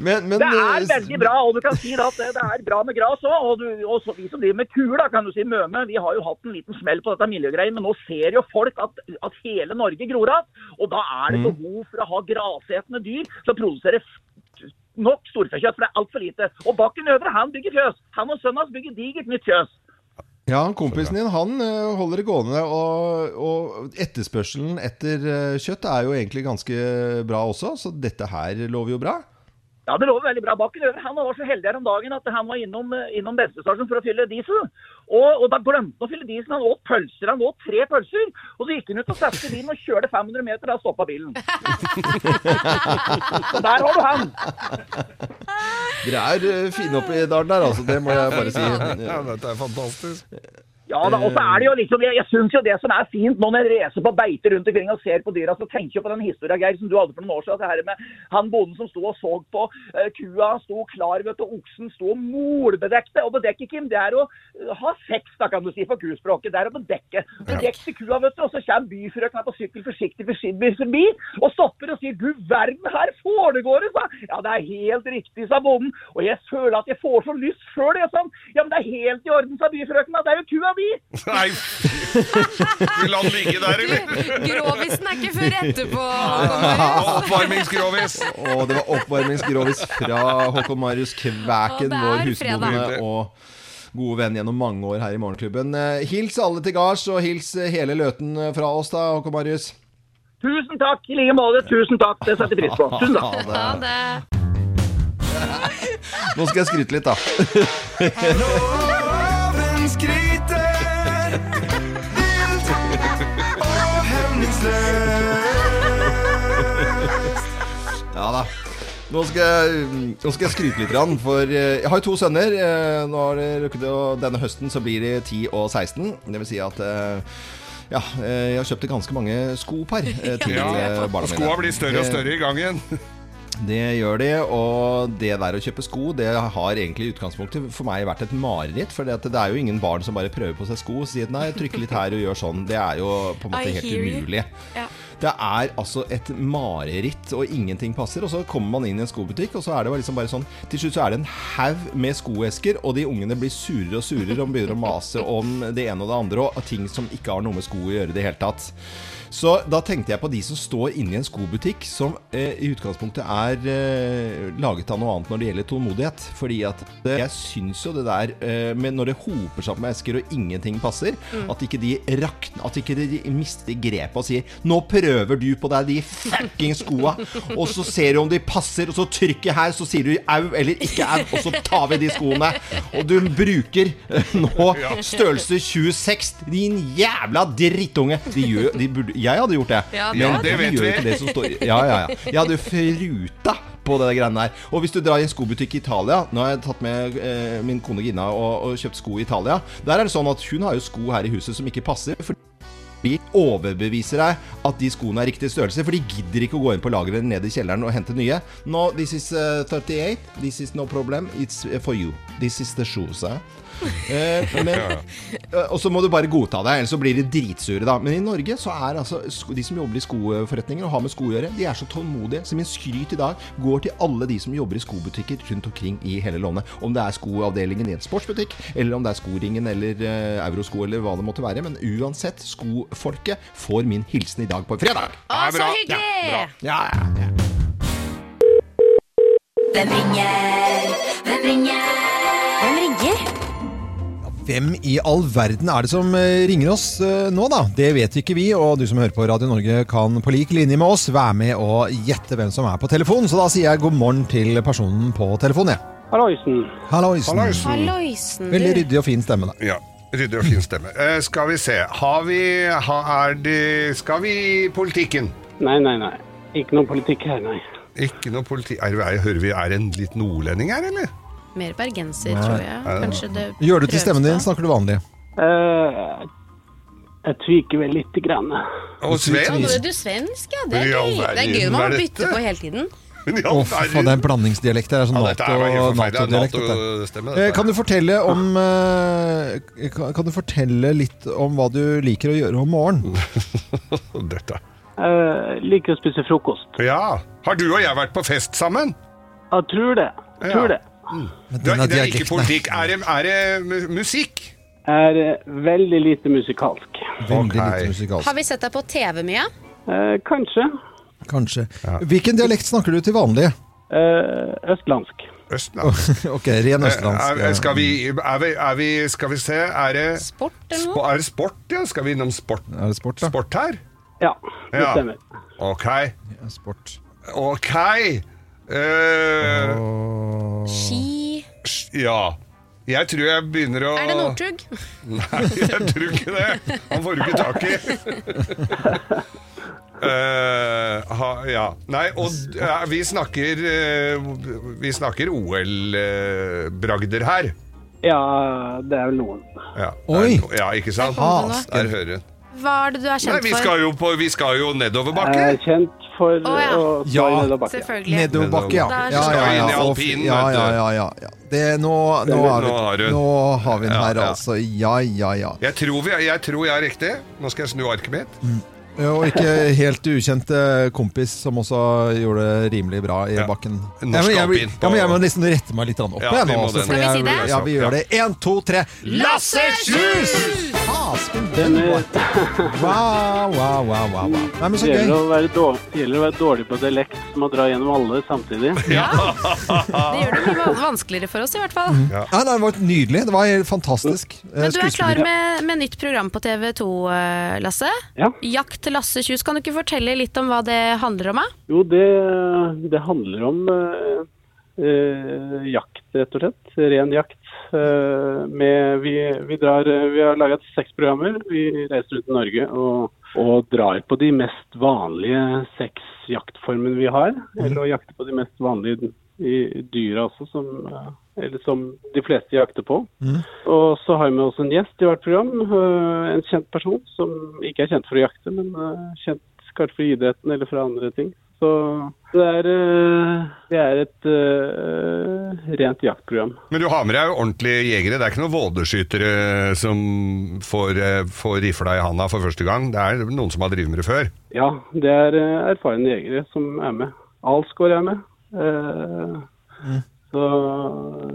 [SPEAKER 1] Men,
[SPEAKER 5] Men eh,
[SPEAKER 1] men
[SPEAKER 5] det er veldig bra, og du kan si da at det, det er bra med gras òg. Og, du- og så vi som driver med kuer, da, kan du si Møme, vi har jo hatt en liten smell på dette miljøgreiet, men nå ser jo folk at, at hele Norge gror av. Og da er det
[SPEAKER 16] Mm.
[SPEAKER 5] behov for å ha grasetende dyr som produserer f- nok storfekjøtt, for det er altfor lite. Og Bakken Øvre, han bygger fjøs. Han og sønnen hans bygger digert nytt fjøs.
[SPEAKER 1] Ja, kompisen din han eh, holder det gående, og, og etterspørselen etter eh, kjøtt er jo egentlig ganske bra også, så dette her lover jo bra.
[SPEAKER 5] Ja, det lover veldig bra. Bakken Øvre han var så heldig her om dagen at han var innom, eh, innom bensinstasjonen for å fylle diesel. Og, og da glemte han å fylle diesel. Han åt pølser. Han åt tre pølser. Og så gikk han ut og satte seg i bilen og kjørte 500 meter. Da stoppa bilen. Så der har du han.
[SPEAKER 1] Dere er eh, fine oppe i dalen der, altså. Det må jeg bare si.
[SPEAKER 2] Ja, dette er fantastisk.
[SPEAKER 5] Ja, da, og så er det jo liksom, Jeg, jeg syns jo det som er fint nå når jeg reiser på beite rundt omkring og ser på dyra, så tenker jeg på den historia Geir, som du hadde for noen år siden. Det her med han bonden som sto og så på eh, kua, sto klar, vet du, oksen sto og molbedekte. Og bedekke, Kim, det er å eh, ha sex, da kan du si, på kuspråket. Det er å bedekke. Bedekte kua, vet du, og så kommer byfrøkna på sykkel forsiktig forsiktig forbi og stopper og sier 'du verden, her foregår det', sa jeg. Ja, det er helt riktig, sa bonden. Og jeg føler at jeg får så lyst sjøl, jeg, sa han. Ja, men det er helt i orden, sa byfrøkna. Det er jo kua di. vi!
[SPEAKER 2] Nei, vil han ligge der, eller?
[SPEAKER 3] Grovisen er ikke før etterpå.
[SPEAKER 2] Oppvarmingsgrovis.
[SPEAKER 1] Og det var oppvarmingsgrovis fra Håkon Marius Kvæken,
[SPEAKER 3] Og
[SPEAKER 1] vår
[SPEAKER 3] det er fredag.
[SPEAKER 1] husbonde og gode venn gjennom mange år her i Morgenklubben. Eh, Hils alle til gards, og hils eh, hele Løten fra oss da, Håkon Marius.
[SPEAKER 5] Tusen takk i like måte. Tusen takk. Det setter jeg pris på. Tusen
[SPEAKER 1] Ha
[SPEAKER 5] takk.
[SPEAKER 1] det. Nå skal jeg skryte litt, da.
[SPEAKER 8] Loven skryter vilt og hemningsløst.
[SPEAKER 1] Ja da. Nå skal, jeg, nå skal jeg skryte litt, grann, for eh, jeg har jo to sønner. Eh, Nå har det rukket å, Denne høsten så blir de 10 og 16. Det vil si at eh, ja, eh, jeg har kjøpt ganske mange skopar eh, til
[SPEAKER 2] Ja,
[SPEAKER 1] eh,
[SPEAKER 2] og
[SPEAKER 1] barna mine.
[SPEAKER 2] skoa blir større og
[SPEAKER 1] Det-
[SPEAKER 2] større i gangen.
[SPEAKER 1] Det gjør de, og det der å kjøpe sko, det har egentlig i utgangspunktet for meg vært et mareritt. For det at det er jo ingen barn som bare prøver på seg sko og sier nei, trykk litt her og gjør sånn. Det er jo på en måte
[SPEAKER 3] I
[SPEAKER 1] helt
[SPEAKER 3] hear you.
[SPEAKER 1] umulig.
[SPEAKER 3] Ja.
[SPEAKER 1] Det er altså et mareritt, og ingenting passer. Og så kommer man inn i en skobutikk, og så er det bare liksom bare sånn Til slutt så er det en haug med skoesker, og de ungene blir surere og surere og begynner å mase om det ene og det andre, og ting som ikke har noe med sko å gjøre i det hele tatt. Så da tenkte jeg på de som står inne i en skobutikk som eh, i utgangspunktet er eh, laget av noe annet når det gjelder tålmodighet. Fordi at eh, jeg syns jo det der eh, med når det hoper seg opp med esker og ingenting passer,
[SPEAKER 8] Mm.
[SPEAKER 1] at ikke de rakner, at ikke de mister grepet og sier 'Nå prøver du på deg de fucking skoa', og så ser du om de passer, og så trykker her, så sier du 'au' eller 'ikke au', og så tar vi de skoene. Og du bruker eh, nå
[SPEAKER 8] Ja.
[SPEAKER 1] størrelse 26, din jævla drittunge! De gjør, de burde, jeg hadde gjort det.
[SPEAKER 8] Ja, det-
[SPEAKER 1] men
[SPEAKER 8] det
[SPEAKER 1] de
[SPEAKER 8] vet
[SPEAKER 1] gjør
[SPEAKER 8] vi.
[SPEAKER 1] ikke det som står Ja, ja, ja. Jeg hadde fruta på det der greiene der. Og hvis du drar i en skobutikk i Italia Nå har jeg tatt med eh, min kone Gina og, og kjøpt sko i Italia. Der er det sånn at hun har jo sko her i huset som ikke passer. fordi vi overbeviser deg at de skoene er riktig størrelse, for de gidder ikke å gå inn på lageret nede i kjelleren og hente nye. No, this is eh, 38. This is no problem. It's eh, for you. This is the shoes. Eh? Eh, men,
[SPEAKER 8] Ja,
[SPEAKER 1] Eh, og så må du bare godta det, ellers så blir de dritsure, da. Men i Norge så er altså sko- de som jobber i skoforretninger og har med sko å gjøre, de er så tålmodige. Så min skryt i dag går til alle de som jobber i skobutikker rundt omkring i hele landet. Om det er skoavdelingen i en sportsbutikk, eller om det er Skoringen eller eh, Eurosko eller hva det måtte være. Men uansett, skofolket får min hilsen i dag på fredag.
[SPEAKER 8] Å, så hyggelig!
[SPEAKER 1] Ja, ja, ja.
[SPEAKER 8] Hvem ringer? Hvem ringer? Hvem ringer?
[SPEAKER 10] Hvem i all verden er det som eh, ringer oss eh, nå, da? Det vet ikke vi, og du som hører på Radio Norge kan på lik linje med oss være med og gjette hvem som er på telefon. Så da sier jeg god morgen til personen på telefonen, jeg.
[SPEAKER 17] Halloisen.
[SPEAKER 10] Halloisen.
[SPEAKER 3] Halloisen,
[SPEAKER 10] Veldig
[SPEAKER 3] du.
[SPEAKER 10] ryddig og fin stemme, da.
[SPEAKER 2] Ja. Ryddig og fin stemme. Eh, skal vi se. Har vi ha, er det, Skal vi i politikken?
[SPEAKER 17] Nei, nei, nei. Ikke noe politikk her, nei.
[SPEAKER 2] Ikke noe politi... Er, vi- er, hører vi er en litt nordlending her, eller?
[SPEAKER 3] Mer bergenser,
[SPEAKER 2] Nei.
[SPEAKER 3] tror jeg. Kanskje det
[SPEAKER 10] Gjør du til
[SPEAKER 3] prøves
[SPEAKER 10] stemmen
[SPEAKER 3] da.
[SPEAKER 10] din, snakker du vanlig?
[SPEAKER 17] Eh, jeg tviker vel lite grann.
[SPEAKER 2] Og
[SPEAKER 3] Nå er du svensk, ja. Det er
[SPEAKER 10] I all
[SPEAKER 3] gøy. Det er
[SPEAKER 10] verden,
[SPEAKER 3] gøy når
[SPEAKER 10] hva
[SPEAKER 3] man
[SPEAKER 10] er
[SPEAKER 3] bytter på hele tiden.
[SPEAKER 10] Å, fy faen, det er en blandingsdialekt. Det er sånn
[SPEAKER 2] Ja, dette er jo helt forferdelig. Det er
[SPEAKER 10] NATO-dialekt. dette.
[SPEAKER 2] NATO-stemme, dette.
[SPEAKER 10] Eh, Kan du fortelle om eh, kan- Kan du fortelle litt om hva du liker å gjøre om morgenen?
[SPEAKER 2] Dette.
[SPEAKER 16] Eh,
[SPEAKER 17] Jeg liker å spise frokost.
[SPEAKER 2] Ja. Har du og jeg vært på fest sammen?
[SPEAKER 17] Jeg tror det. Jeg tror det.
[SPEAKER 10] Mm.
[SPEAKER 2] Det,
[SPEAKER 17] denne
[SPEAKER 2] det er ikke
[SPEAKER 17] dialekten er-
[SPEAKER 2] politikk. Er det, er det mu- musikk?
[SPEAKER 17] Jeg er eh, veldig lite musikalsk.
[SPEAKER 10] Veldig lite musikalsk.
[SPEAKER 3] Har vi sett deg på TV mye?
[SPEAKER 17] Eh, kanskje.
[SPEAKER 10] Kanskje. Hvilken dialekt snakker du til vanlig?
[SPEAKER 17] Eh, østlandsk.
[SPEAKER 2] Østlandsk.
[SPEAKER 10] ok, Eh, ren østlandsk. eh,
[SPEAKER 2] Er, er, Eh, skal, vi, er, vi, er vi Skal vi se Er det Sport
[SPEAKER 3] eller noe?
[SPEAKER 2] er det sport, ja? Skal vi innom sport?
[SPEAKER 10] Er det sport, da?
[SPEAKER 2] Sport her?
[SPEAKER 17] Ja, det stemmer.
[SPEAKER 2] Ok.
[SPEAKER 10] sport.
[SPEAKER 2] Ok. Eh,
[SPEAKER 3] Ski
[SPEAKER 2] Ja. Jeg tror jeg begynner å
[SPEAKER 3] Er det Northug?
[SPEAKER 2] Nei, jeg tror ikke det. Han får du ikke tak i. Eh, ha, ja. Nei, og ja, vi snakker eh, Vi snakker OL-bragder her.
[SPEAKER 17] Ja, det er vel noen.
[SPEAKER 2] Ja,
[SPEAKER 10] Oi!
[SPEAKER 2] Der, ja, ikke sant?
[SPEAKER 17] Der kom det nå.
[SPEAKER 2] Der hører hun.
[SPEAKER 3] Hva er det du er
[SPEAKER 2] Nei,
[SPEAKER 3] kjent
[SPEAKER 2] vi
[SPEAKER 3] for?
[SPEAKER 2] skal jo, på, vi skal jo nedoverbakke.
[SPEAKER 17] Jeg er kjent for
[SPEAKER 3] Å, ja.
[SPEAKER 17] å stå i nedoverbakke.
[SPEAKER 3] Selvfølgelig.
[SPEAKER 10] Nedoverbakke, ja.
[SPEAKER 3] Da er
[SPEAKER 10] Ja,
[SPEAKER 3] det-
[SPEAKER 10] ja,
[SPEAKER 2] Skal inn i
[SPEAKER 10] ja. Og f-
[SPEAKER 2] alpinen,
[SPEAKER 10] ja,
[SPEAKER 2] vet du.
[SPEAKER 10] ja, ja, ja, ja. Det, nå, nå, har
[SPEAKER 2] Nå har
[SPEAKER 10] vi,
[SPEAKER 2] hun.
[SPEAKER 10] nå har vi den
[SPEAKER 2] Ja,
[SPEAKER 10] her,
[SPEAKER 2] ja.
[SPEAKER 10] altså. Ja, ja, ja.
[SPEAKER 2] Jeg tror, vi, jeg tror jeg er riktig. Nå skal jeg snu arket mitt.
[SPEAKER 10] Mm. Og ikke helt ukjent eh, kompis som også gjorde det rimelig bra i bakken.
[SPEAKER 2] Norsk
[SPEAKER 10] Ja, men jeg,
[SPEAKER 2] alpin på-
[SPEAKER 10] ja, men jeg må nesten rette meg litt grann opp
[SPEAKER 2] Ja,
[SPEAKER 10] jeg,
[SPEAKER 2] vi
[SPEAKER 10] nå.
[SPEAKER 2] må
[SPEAKER 10] altså,
[SPEAKER 2] det.
[SPEAKER 10] fordi
[SPEAKER 2] Skal vi si
[SPEAKER 10] jeg-
[SPEAKER 2] det?
[SPEAKER 10] Ja, vi gjør det. Én, to, tre.
[SPEAKER 2] Lasse
[SPEAKER 10] Kjus! Asken, den var- Wow, wow, wow, wow. wow. Nei, men så
[SPEAKER 16] Det eh, gjelder
[SPEAKER 10] gøy.
[SPEAKER 16] å være dårlig, det gjelder å være dårlig på dialekt som å dra gjennom alle samtidig.
[SPEAKER 3] Det gjør det mye van- vanskeligere for oss, i hvert fall.
[SPEAKER 10] Ja. nei, det var nydelig. Det var helt fantastisk. Eh,
[SPEAKER 3] Men du er
[SPEAKER 10] skuespiller.
[SPEAKER 3] klar med, med nytt program på TV 2, eh, Lasse.
[SPEAKER 16] Ja.
[SPEAKER 3] Jakt til Lasse Kjus. Kan du ikke fortelle litt om hva det handler om? da?
[SPEAKER 16] Jo, det, det handler om eh, eh, jakt, rett og slett. Ren jakt. Eh, med, vi, vi, drar, eh, vi har laget seks programmer. Vi reiser rundt i Norge og, og drar på de mest vanlige seks jaktformene vi har. Eller å jakte på de mest vanlige i- dyra også, som, eh, eller som de fleste jakter på. Og så har vi med oss en gjest i hvert program. øh, En kjent person som ikke er kjent for å jakte, men øh, kjent kanskje for idretten eller fra andre ting. Så det er, øh, det er et øh, rent jaktprogram.
[SPEAKER 2] Men du har med deg jo ordentlige jegere. Det er ikke noen vådeskytere som får, eh, får rifla i handa for første gang. Det er noen som har drevet med det før.
[SPEAKER 16] Ja, det er øh, erfarne jegere som er med. Alsgaard er med. Eh,
[SPEAKER 10] Mm.
[SPEAKER 16] Så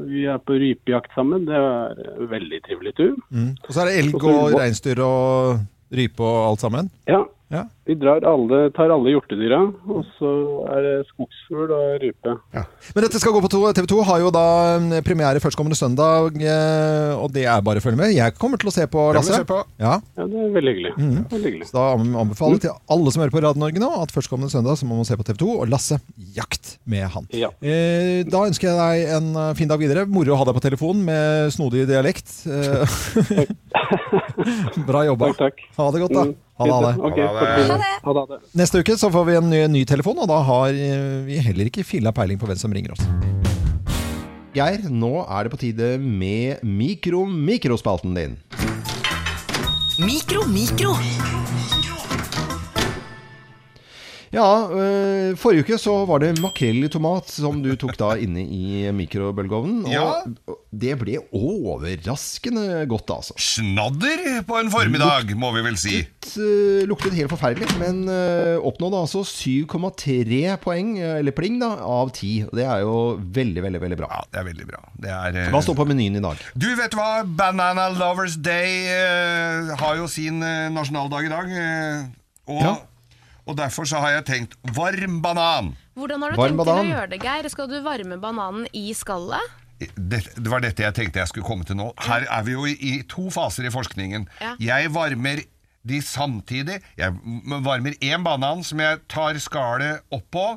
[SPEAKER 16] vi er på rypejakt sammen. Det er en veldig trivelig tur.
[SPEAKER 10] Mm. Og så er det elg og reinsdyr og rype og alt sammen.
[SPEAKER 16] Ja.
[SPEAKER 10] Ja.
[SPEAKER 16] Vi drar alle, tar alle hjortedyra, og så er det skogsfugl og rype.
[SPEAKER 10] Men dette skal gå på to. TV 2 har jo da mm, premiere førstkommende søndag, eh, og det er bare å følge med. Jeg kommer til å se på,
[SPEAKER 16] Det må du
[SPEAKER 10] Lasse.
[SPEAKER 16] se på. Mm.
[SPEAKER 10] Ja.
[SPEAKER 16] Ja, det er veldig hyggelig.
[SPEAKER 10] Mhm.
[SPEAKER 16] Veldig hyggelig.
[SPEAKER 10] Så da anbefaler jeg til alle som hører på Radio Norge nå, at førstkommende søndag så må man se på TV 2 og Lasse Jakt med han. Eh, Da ønsker jeg deg en eh, fin dag videre. Moro å ha deg på telefonen med snodig dialekt. Eh, Bra jobba. Ha det godt, da.
[SPEAKER 16] Mm,
[SPEAKER 10] Ha det, ha det.
[SPEAKER 16] fint, ok, fortsatt videre. Ha det. Ha det.
[SPEAKER 10] Neste uke så får vi en ny, ny telefon, og da har eh, vi heller ikke filla peiling på hvem som ringer oss.
[SPEAKER 1] Geir, nå er det på tide med mikro-mikrospalten din.
[SPEAKER 18] Mikro, mikro.
[SPEAKER 1] Ja, øh, forrige uke så var det makrell i tomat som du tok da inne i mikrobølgeovnen.
[SPEAKER 2] Ja.
[SPEAKER 1] Og det ble overraskende godt, altså.
[SPEAKER 2] Snadder på en formiddag, må vi vel si.
[SPEAKER 1] øh, luktet helt forferdelig, men øh, oppnådde altså 7,3 poeng, øh, eller pling, da, av 10. Og Det er jo veldig, veldig veldig bra.
[SPEAKER 2] Ja, det er veldig bra. Det er, øh,
[SPEAKER 1] Hva står på menyen i dag?
[SPEAKER 2] Du, vet du hva? Banana Lovers Day eh, har jo sin eh, nasjonaldag i dag. eh, og, og derfor så har jeg tenkt varm banan.
[SPEAKER 3] Hvordan har du
[SPEAKER 2] Varm
[SPEAKER 3] tenkt
[SPEAKER 2] banan.
[SPEAKER 3] til å gjøre det, Geir? Skal du varme bananen i skallet?
[SPEAKER 2] Det, det var dette jeg tenkte jeg skulle komme til nå. Her er vi jo i, i to faser i forskningen.
[SPEAKER 3] Ja.
[SPEAKER 2] Jeg varmer de samtidig. Jeg m- varmer én banan som jeg tar skallet oppå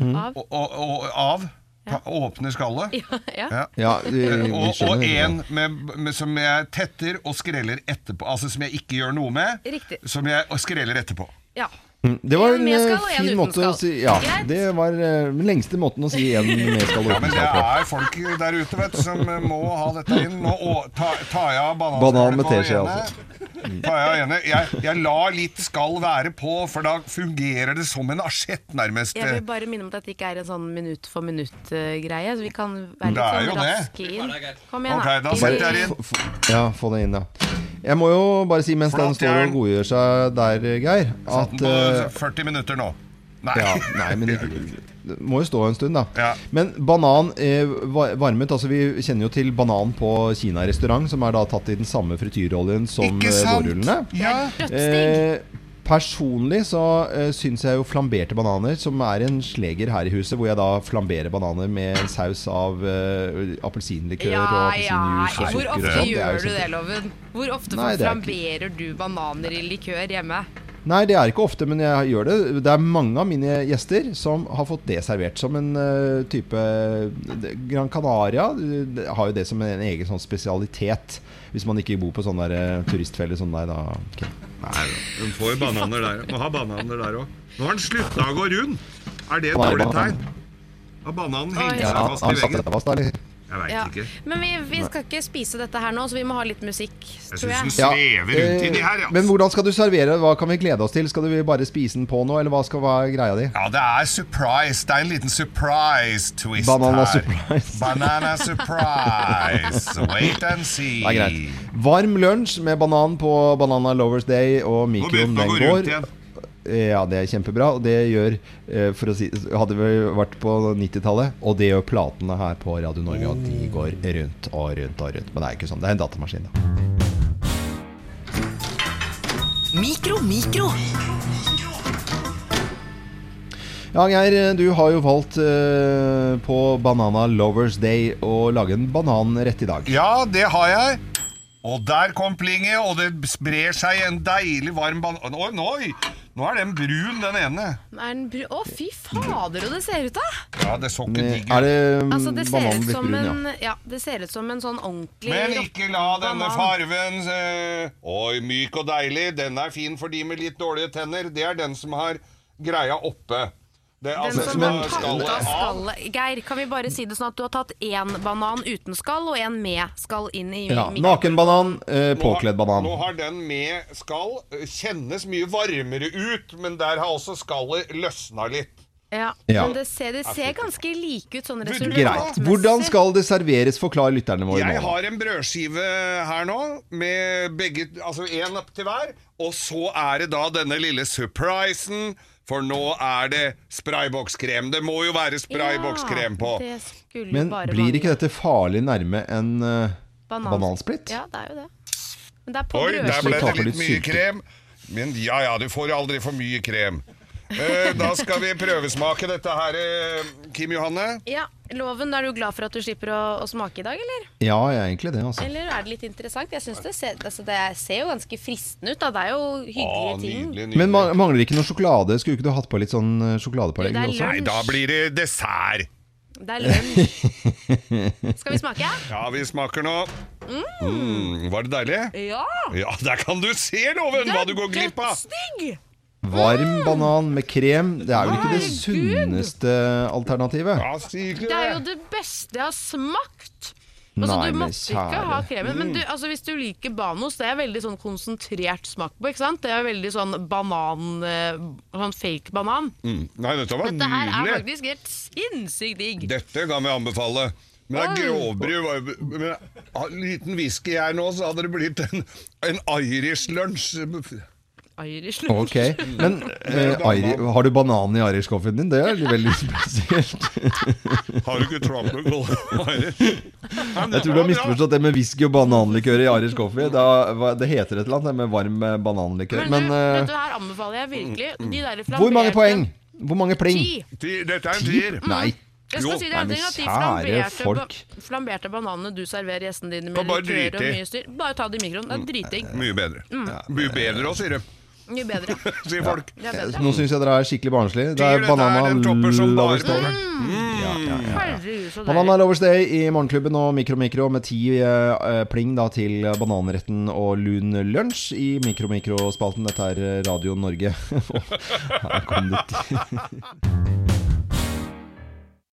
[SPEAKER 3] Mm.
[SPEAKER 1] Mhm.
[SPEAKER 2] og, og, og av. Ta, Åpner skallet. Ja.
[SPEAKER 1] Ja, vi-
[SPEAKER 2] Eh,
[SPEAKER 1] vi
[SPEAKER 2] og, og
[SPEAKER 1] skjønner det.
[SPEAKER 2] en med, med, som jeg tetter og skreller etterpå. Altså som jeg ikke gjør noe med.
[SPEAKER 3] Riktig.
[SPEAKER 2] Som jeg og skreller etterpå.
[SPEAKER 3] Ja.
[SPEAKER 1] Det var
[SPEAKER 3] En
[SPEAKER 1] en
[SPEAKER 3] med
[SPEAKER 1] øh,
[SPEAKER 3] skall og en
[SPEAKER 1] fin
[SPEAKER 3] uten
[SPEAKER 1] måte å
[SPEAKER 3] skall.
[SPEAKER 1] si Ja,
[SPEAKER 3] Greit.
[SPEAKER 1] det var øh, den lengste måten å si en med skall og
[SPEAKER 2] Ja,
[SPEAKER 1] uten
[SPEAKER 2] men det
[SPEAKER 1] skall på.
[SPEAKER 2] er folk der ute vet, du, som eh, må ha dette inn. Nå å- ta- tar jeg av
[SPEAKER 1] Banan
[SPEAKER 2] bananskrevet
[SPEAKER 1] med
[SPEAKER 2] på det
[SPEAKER 1] teskje,
[SPEAKER 2] ene.
[SPEAKER 1] altså.
[SPEAKER 2] Tar jeg, av ene. jeg, jeg lar litt skall være på, for da fungerer det som en asjett, nærmest.
[SPEAKER 3] Jeg vil bare minne om at dette ikke er en sånn minutt for minutt-greie, så vi kan være litt
[SPEAKER 1] Det er jo
[SPEAKER 3] sånn
[SPEAKER 1] det.
[SPEAKER 3] raske inn. Kom igjen,
[SPEAKER 2] Ok, da
[SPEAKER 3] da.
[SPEAKER 2] setter jeg det
[SPEAKER 1] Bare- f- f- Ja, få det inn, ja. Jeg må jo bare si mens den står og godgjør seg der, Geir,
[SPEAKER 2] Satt
[SPEAKER 1] at
[SPEAKER 2] den på
[SPEAKER 1] eh,
[SPEAKER 2] 40 minutter nå. Nei.
[SPEAKER 1] ja, nei, men det- det må jo stå en stund, da. Men banan eh, var- varmet altså Vi kjenner jo til banan på Kina-restaurant, som er da tatt i den samme frityroljen som
[SPEAKER 2] Ikke
[SPEAKER 1] eh,
[SPEAKER 2] sant?
[SPEAKER 1] vårrullene.
[SPEAKER 2] Ja. Det er dødsdigg.
[SPEAKER 1] Eh, Personlig så uh, syns jeg jo flamberte bananer, som er en sleger her i huset, hvor jeg da flamberer bananer med en saus av eh, appelsinlikør
[SPEAKER 3] Ja,
[SPEAKER 1] og
[SPEAKER 3] ja.
[SPEAKER 1] appelsinjuice og
[SPEAKER 3] Hvor
[SPEAKER 1] sukker.
[SPEAKER 3] ofte
[SPEAKER 1] og sånt. Det er jo
[SPEAKER 3] gjør du
[SPEAKER 1] kjempe-
[SPEAKER 3] det, Loven? Hvor ofte
[SPEAKER 1] Nei, det er ikke-
[SPEAKER 3] flamberer du bananer i likør hjemme?
[SPEAKER 1] Nei, det er ikke ofte, men jeg gjør det. Det er mange av mine gjester som har fått det servert som en eh, type Gran Canaria eh, det har jo det som en egen sånn spesialitet. Hvis man ikke bor på sånn der eh, turistfelle som deg, da. ok.
[SPEAKER 2] Nei, hun får jo bananer der. Må ha bananer der òg. Nå har den slutta å gå rund. Er det et
[SPEAKER 1] Hva er
[SPEAKER 2] dårlig
[SPEAKER 1] banan?
[SPEAKER 2] tegn? Har bananen
[SPEAKER 3] Oi.
[SPEAKER 2] hengt
[SPEAKER 1] Ja,
[SPEAKER 2] seg
[SPEAKER 1] han
[SPEAKER 2] fast i
[SPEAKER 1] satte
[SPEAKER 2] veggen?
[SPEAKER 1] deg fast, da, eller?
[SPEAKER 2] Jeg veit
[SPEAKER 3] Ja.
[SPEAKER 2] ikke.
[SPEAKER 3] Men vi, vi skal ikke spise dette her nå, så vi må ha litt musikk, tror jeg.
[SPEAKER 1] Ja,
[SPEAKER 2] rundt
[SPEAKER 1] eh,
[SPEAKER 2] inni her, ja.
[SPEAKER 1] Men hvordan skal du servere? Hva kan vi glede oss til? Skal du bare spise den på nå, eller hva skal være greia di?
[SPEAKER 2] Ja, det er surprise. Det er en liten surprise twist
[SPEAKER 1] Banana
[SPEAKER 2] her.
[SPEAKER 1] surprise.
[SPEAKER 2] Banana surprise. Wait and see.
[SPEAKER 1] Det er greit. Varm lunsj med banan på Banana Lovers Day og
[SPEAKER 2] begynte
[SPEAKER 1] mikroen
[SPEAKER 2] den å
[SPEAKER 1] den
[SPEAKER 2] gå rundt
[SPEAKER 1] går.
[SPEAKER 2] igjen.
[SPEAKER 1] Eh, Ja, det er kjempebra. Og det gjør, eh, for å si Hadde vi vært på 90-tallet, og det gjør platene her på Radio Norge, og de går rundt og rundt og rundt. Men det er ikke sånn. Det er en datamaskin, da.
[SPEAKER 18] Mikro, mikro.
[SPEAKER 1] Ja, Geir, du har jo valgt eh, på Banana Lovers Day å lage en bananrett i dag.
[SPEAKER 2] Ja, det har jeg. Og der kom plinget, og det sprer seg en deilig varm banan... Oi, oi! Nå er den brun, den ene.
[SPEAKER 3] Er den bru- Å, fy fader, og det ser ut, da!
[SPEAKER 2] Ja, det så ikke digg ut.
[SPEAKER 1] Er det mm,
[SPEAKER 3] Altså, det ser,
[SPEAKER 1] bananen
[SPEAKER 3] ut
[SPEAKER 1] blitt
[SPEAKER 3] som
[SPEAKER 1] brun, ja?
[SPEAKER 3] en, ja, det ser ut som en sånn ordentlig
[SPEAKER 2] Men ikke la denne
[SPEAKER 3] banan.
[SPEAKER 2] farven eh, Oi, myk og deilig. Den er fin for de med litt dårlige tenner. Det er den som har greia oppe. Det, er altså,
[SPEAKER 3] Den som
[SPEAKER 2] som
[SPEAKER 3] har
[SPEAKER 2] har
[SPEAKER 3] tatt
[SPEAKER 2] skallet
[SPEAKER 3] av
[SPEAKER 2] av.
[SPEAKER 3] skallet Geir, kan vi bare si det sånn at du har tatt én banan uten skall og én med skall inn i
[SPEAKER 1] Ja,
[SPEAKER 3] mikrofonen?
[SPEAKER 1] Nakenbanan, eh,
[SPEAKER 2] Nå har-
[SPEAKER 1] påkledd banan.
[SPEAKER 2] Nå har den med skall eh, kjennes mye varmere ut, men der har også skallet løsna litt.
[SPEAKER 3] Ja,
[SPEAKER 1] Ja.
[SPEAKER 3] men det ser, det ser ganske like ut sånn
[SPEAKER 1] Greit.
[SPEAKER 3] resultatmessig.
[SPEAKER 1] Hvordan skal det serveres? Forklar lytterne våre
[SPEAKER 2] Jeg
[SPEAKER 1] nå.
[SPEAKER 2] har en brødskive her nå, med begge, altså en opp til hver, og så er det da denne lille surprisen, for nå er det spraybokskrem. Det må jo være spraybokskrem på.
[SPEAKER 3] Det skulle
[SPEAKER 1] Men
[SPEAKER 3] bare
[SPEAKER 1] blir
[SPEAKER 3] mangle.
[SPEAKER 1] ikke dette farlig nærme en eh,
[SPEAKER 3] Banan-
[SPEAKER 1] banansplitt?
[SPEAKER 3] Ja, det er jo det. Men det er på
[SPEAKER 2] Oi, der ble det
[SPEAKER 1] Taper
[SPEAKER 3] brødskiva.
[SPEAKER 1] litt
[SPEAKER 2] litt mye
[SPEAKER 1] sylte.
[SPEAKER 2] krem. Men ja, ja, du får aldri for mye krem. Eh, da skal vi prøvesmake dette her, eh, Kim Johanne.
[SPEAKER 3] Ja, Loven, er du glad for at du slipper å, å smake i dag, eller?
[SPEAKER 1] Ja, jeg er egentlig det, altså.
[SPEAKER 3] Eller er det litt interessant? Jeg synes det ser, altså det ser jo ganske fristende ut, da. Det er jo hyggelige ting.
[SPEAKER 1] Men ma- mangler ikke noe sjokolade? Skulle ikke du hatt på litt sånn eh,
[SPEAKER 3] Jo,
[SPEAKER 1] sjokoladepareng
[SPEAKER 3] det er
[SPEAKER 1] også?
[SPEAKER 2] Nei, da blir det dessert.
[SPEAKER 3] Det er lunsj. Skal vi smake?
[SPEAKER 2] Ja, vi smaker nå. Mm, var det deilig?
[SPEAKER 3] Ja!
[SPEAKER 2] Ja, der kan du se, Loven, hva du går glipp av!
[SPEAKER 3] Dødsdigg!
[SPEAKER 1] Varm
[SPEAKER 3] Mm.
[SPEAKER 1] banan med krem. Det er vel ikke det sunneste alternativet?
[SPEAKER 3] Altså, Det er jo det beste jeg har smakt. Altså,
[SPEAKER 1] Nei,
[SPEAKER 3] du
[SPEAKER 1] men
[SPEAKER 3] måtte ikke ha
[SPEAKER 1] kjære. Mm.
[SPEAKER 3] kremen, men du, altså, hvis du liker Banos, det er veldig sånn konsentrert smak på, ikke sant? Det er veldig sånn banan, eh, sånn fake banan.
[SPEAKER 2] Mm. Nei, dette var
[SPEAKER 3] Dette her er
[SPEAKER 2] nydelig.
[SPEAKER 3] faktisk helt sinnssykt digg.
[SPEAKER 2] Dette kan vi anbefale. Men det
[SPEAKER 3] Oi.
[SPEAKER 2] er grovbry. var jo- Men av en liten whisky her nå, så hadde det blitt en, en Irish lunsj.
[SPEAKER 3] Irish
[SPEAKER 1] Ok, men eh, Iri- har du banan i Irish-coffeen din? Det er veldig spesielt.
[SPEAKER 2] Har du ikke tropical Irish?
[SPEAKER 1] Jeg tror du har misforstått det med whisky og bananlikør i Irish coffee. Da, hva- det heter et eller annet det med varm eh, bananlikør.
[SPEAKER 3] Men,
[SPEAKER 1] Men
[SPEAKER 3] du,
[SPEAKER 1] eh, mm,
[SPEAKER 3] dette her anbefaler jeg virkelig.
[SPEAKER 2] Mm,
[SPEAKER 3] De der
[SPEAKER 1] hvor mange
[SPEAKER 3] flamberte-
[SPEAKER 1] poeng? Hvor mange pling?
[SPEAKER 3] Ti.
[SPEAKER 2] Dette er en
[SPEAKER 1] Ti?
[SPEAKER 2] tier.
[SPEAKER 1] Nei.
[SPEAKER 3] Jeg skal si deg
[SPEAKER 1] Nei,
[SPEAKER 3] en
[SPEAKER 1] men
[SPEAKER 3] ting at de
[SPEAKER 1] kjære
[SPEAKER 3] flamberte,
[SPEAKER 1] folk.
[SPEAKER 3] ba flamberte bananene du serverer gjestene dine
[SPEAKER 2] Kan
[SPEAKER 3] med
[SPEAKER 2] bare
[SPEAKER 3] likør og
[SPEAKER 2] drite i.
[SPEAKER 3] mye styr, bare ta det i mikroen. Det er driting.
[SPEAKER 2] Mye bedre.
[SPEAKER 3] Mm.
[SPEAKER 2] Mye bedre òg, sier de.
[SPEAKER 3] Mye bedre.
[SPEAKER 2] Sier folk.
[SPEAKER 3] Det er bedre.
[SPEAKER 1] Nå syns jeg dere er skikkelig barnslige. Det er
[SPEAKER 2] Tier, dette er
[SPEAKER 1] banana
[SPEAKER 2] en topper som bare Mm.
[SPEAKER 1] lovers day.
[SPEAKER 2] står.
[SPEAKER 1] Ja, ja, ja, ja.
[SPEAKER 3] Herregud, så deilig.
[SPEAKER 1] Banana lovers day i Morgenklubben og Mikro Mikro med ti eh, pling da til bananretten og lun lunsj i Mikro Mikro-spalten. Dette er Radio Norge. Her kom det ti.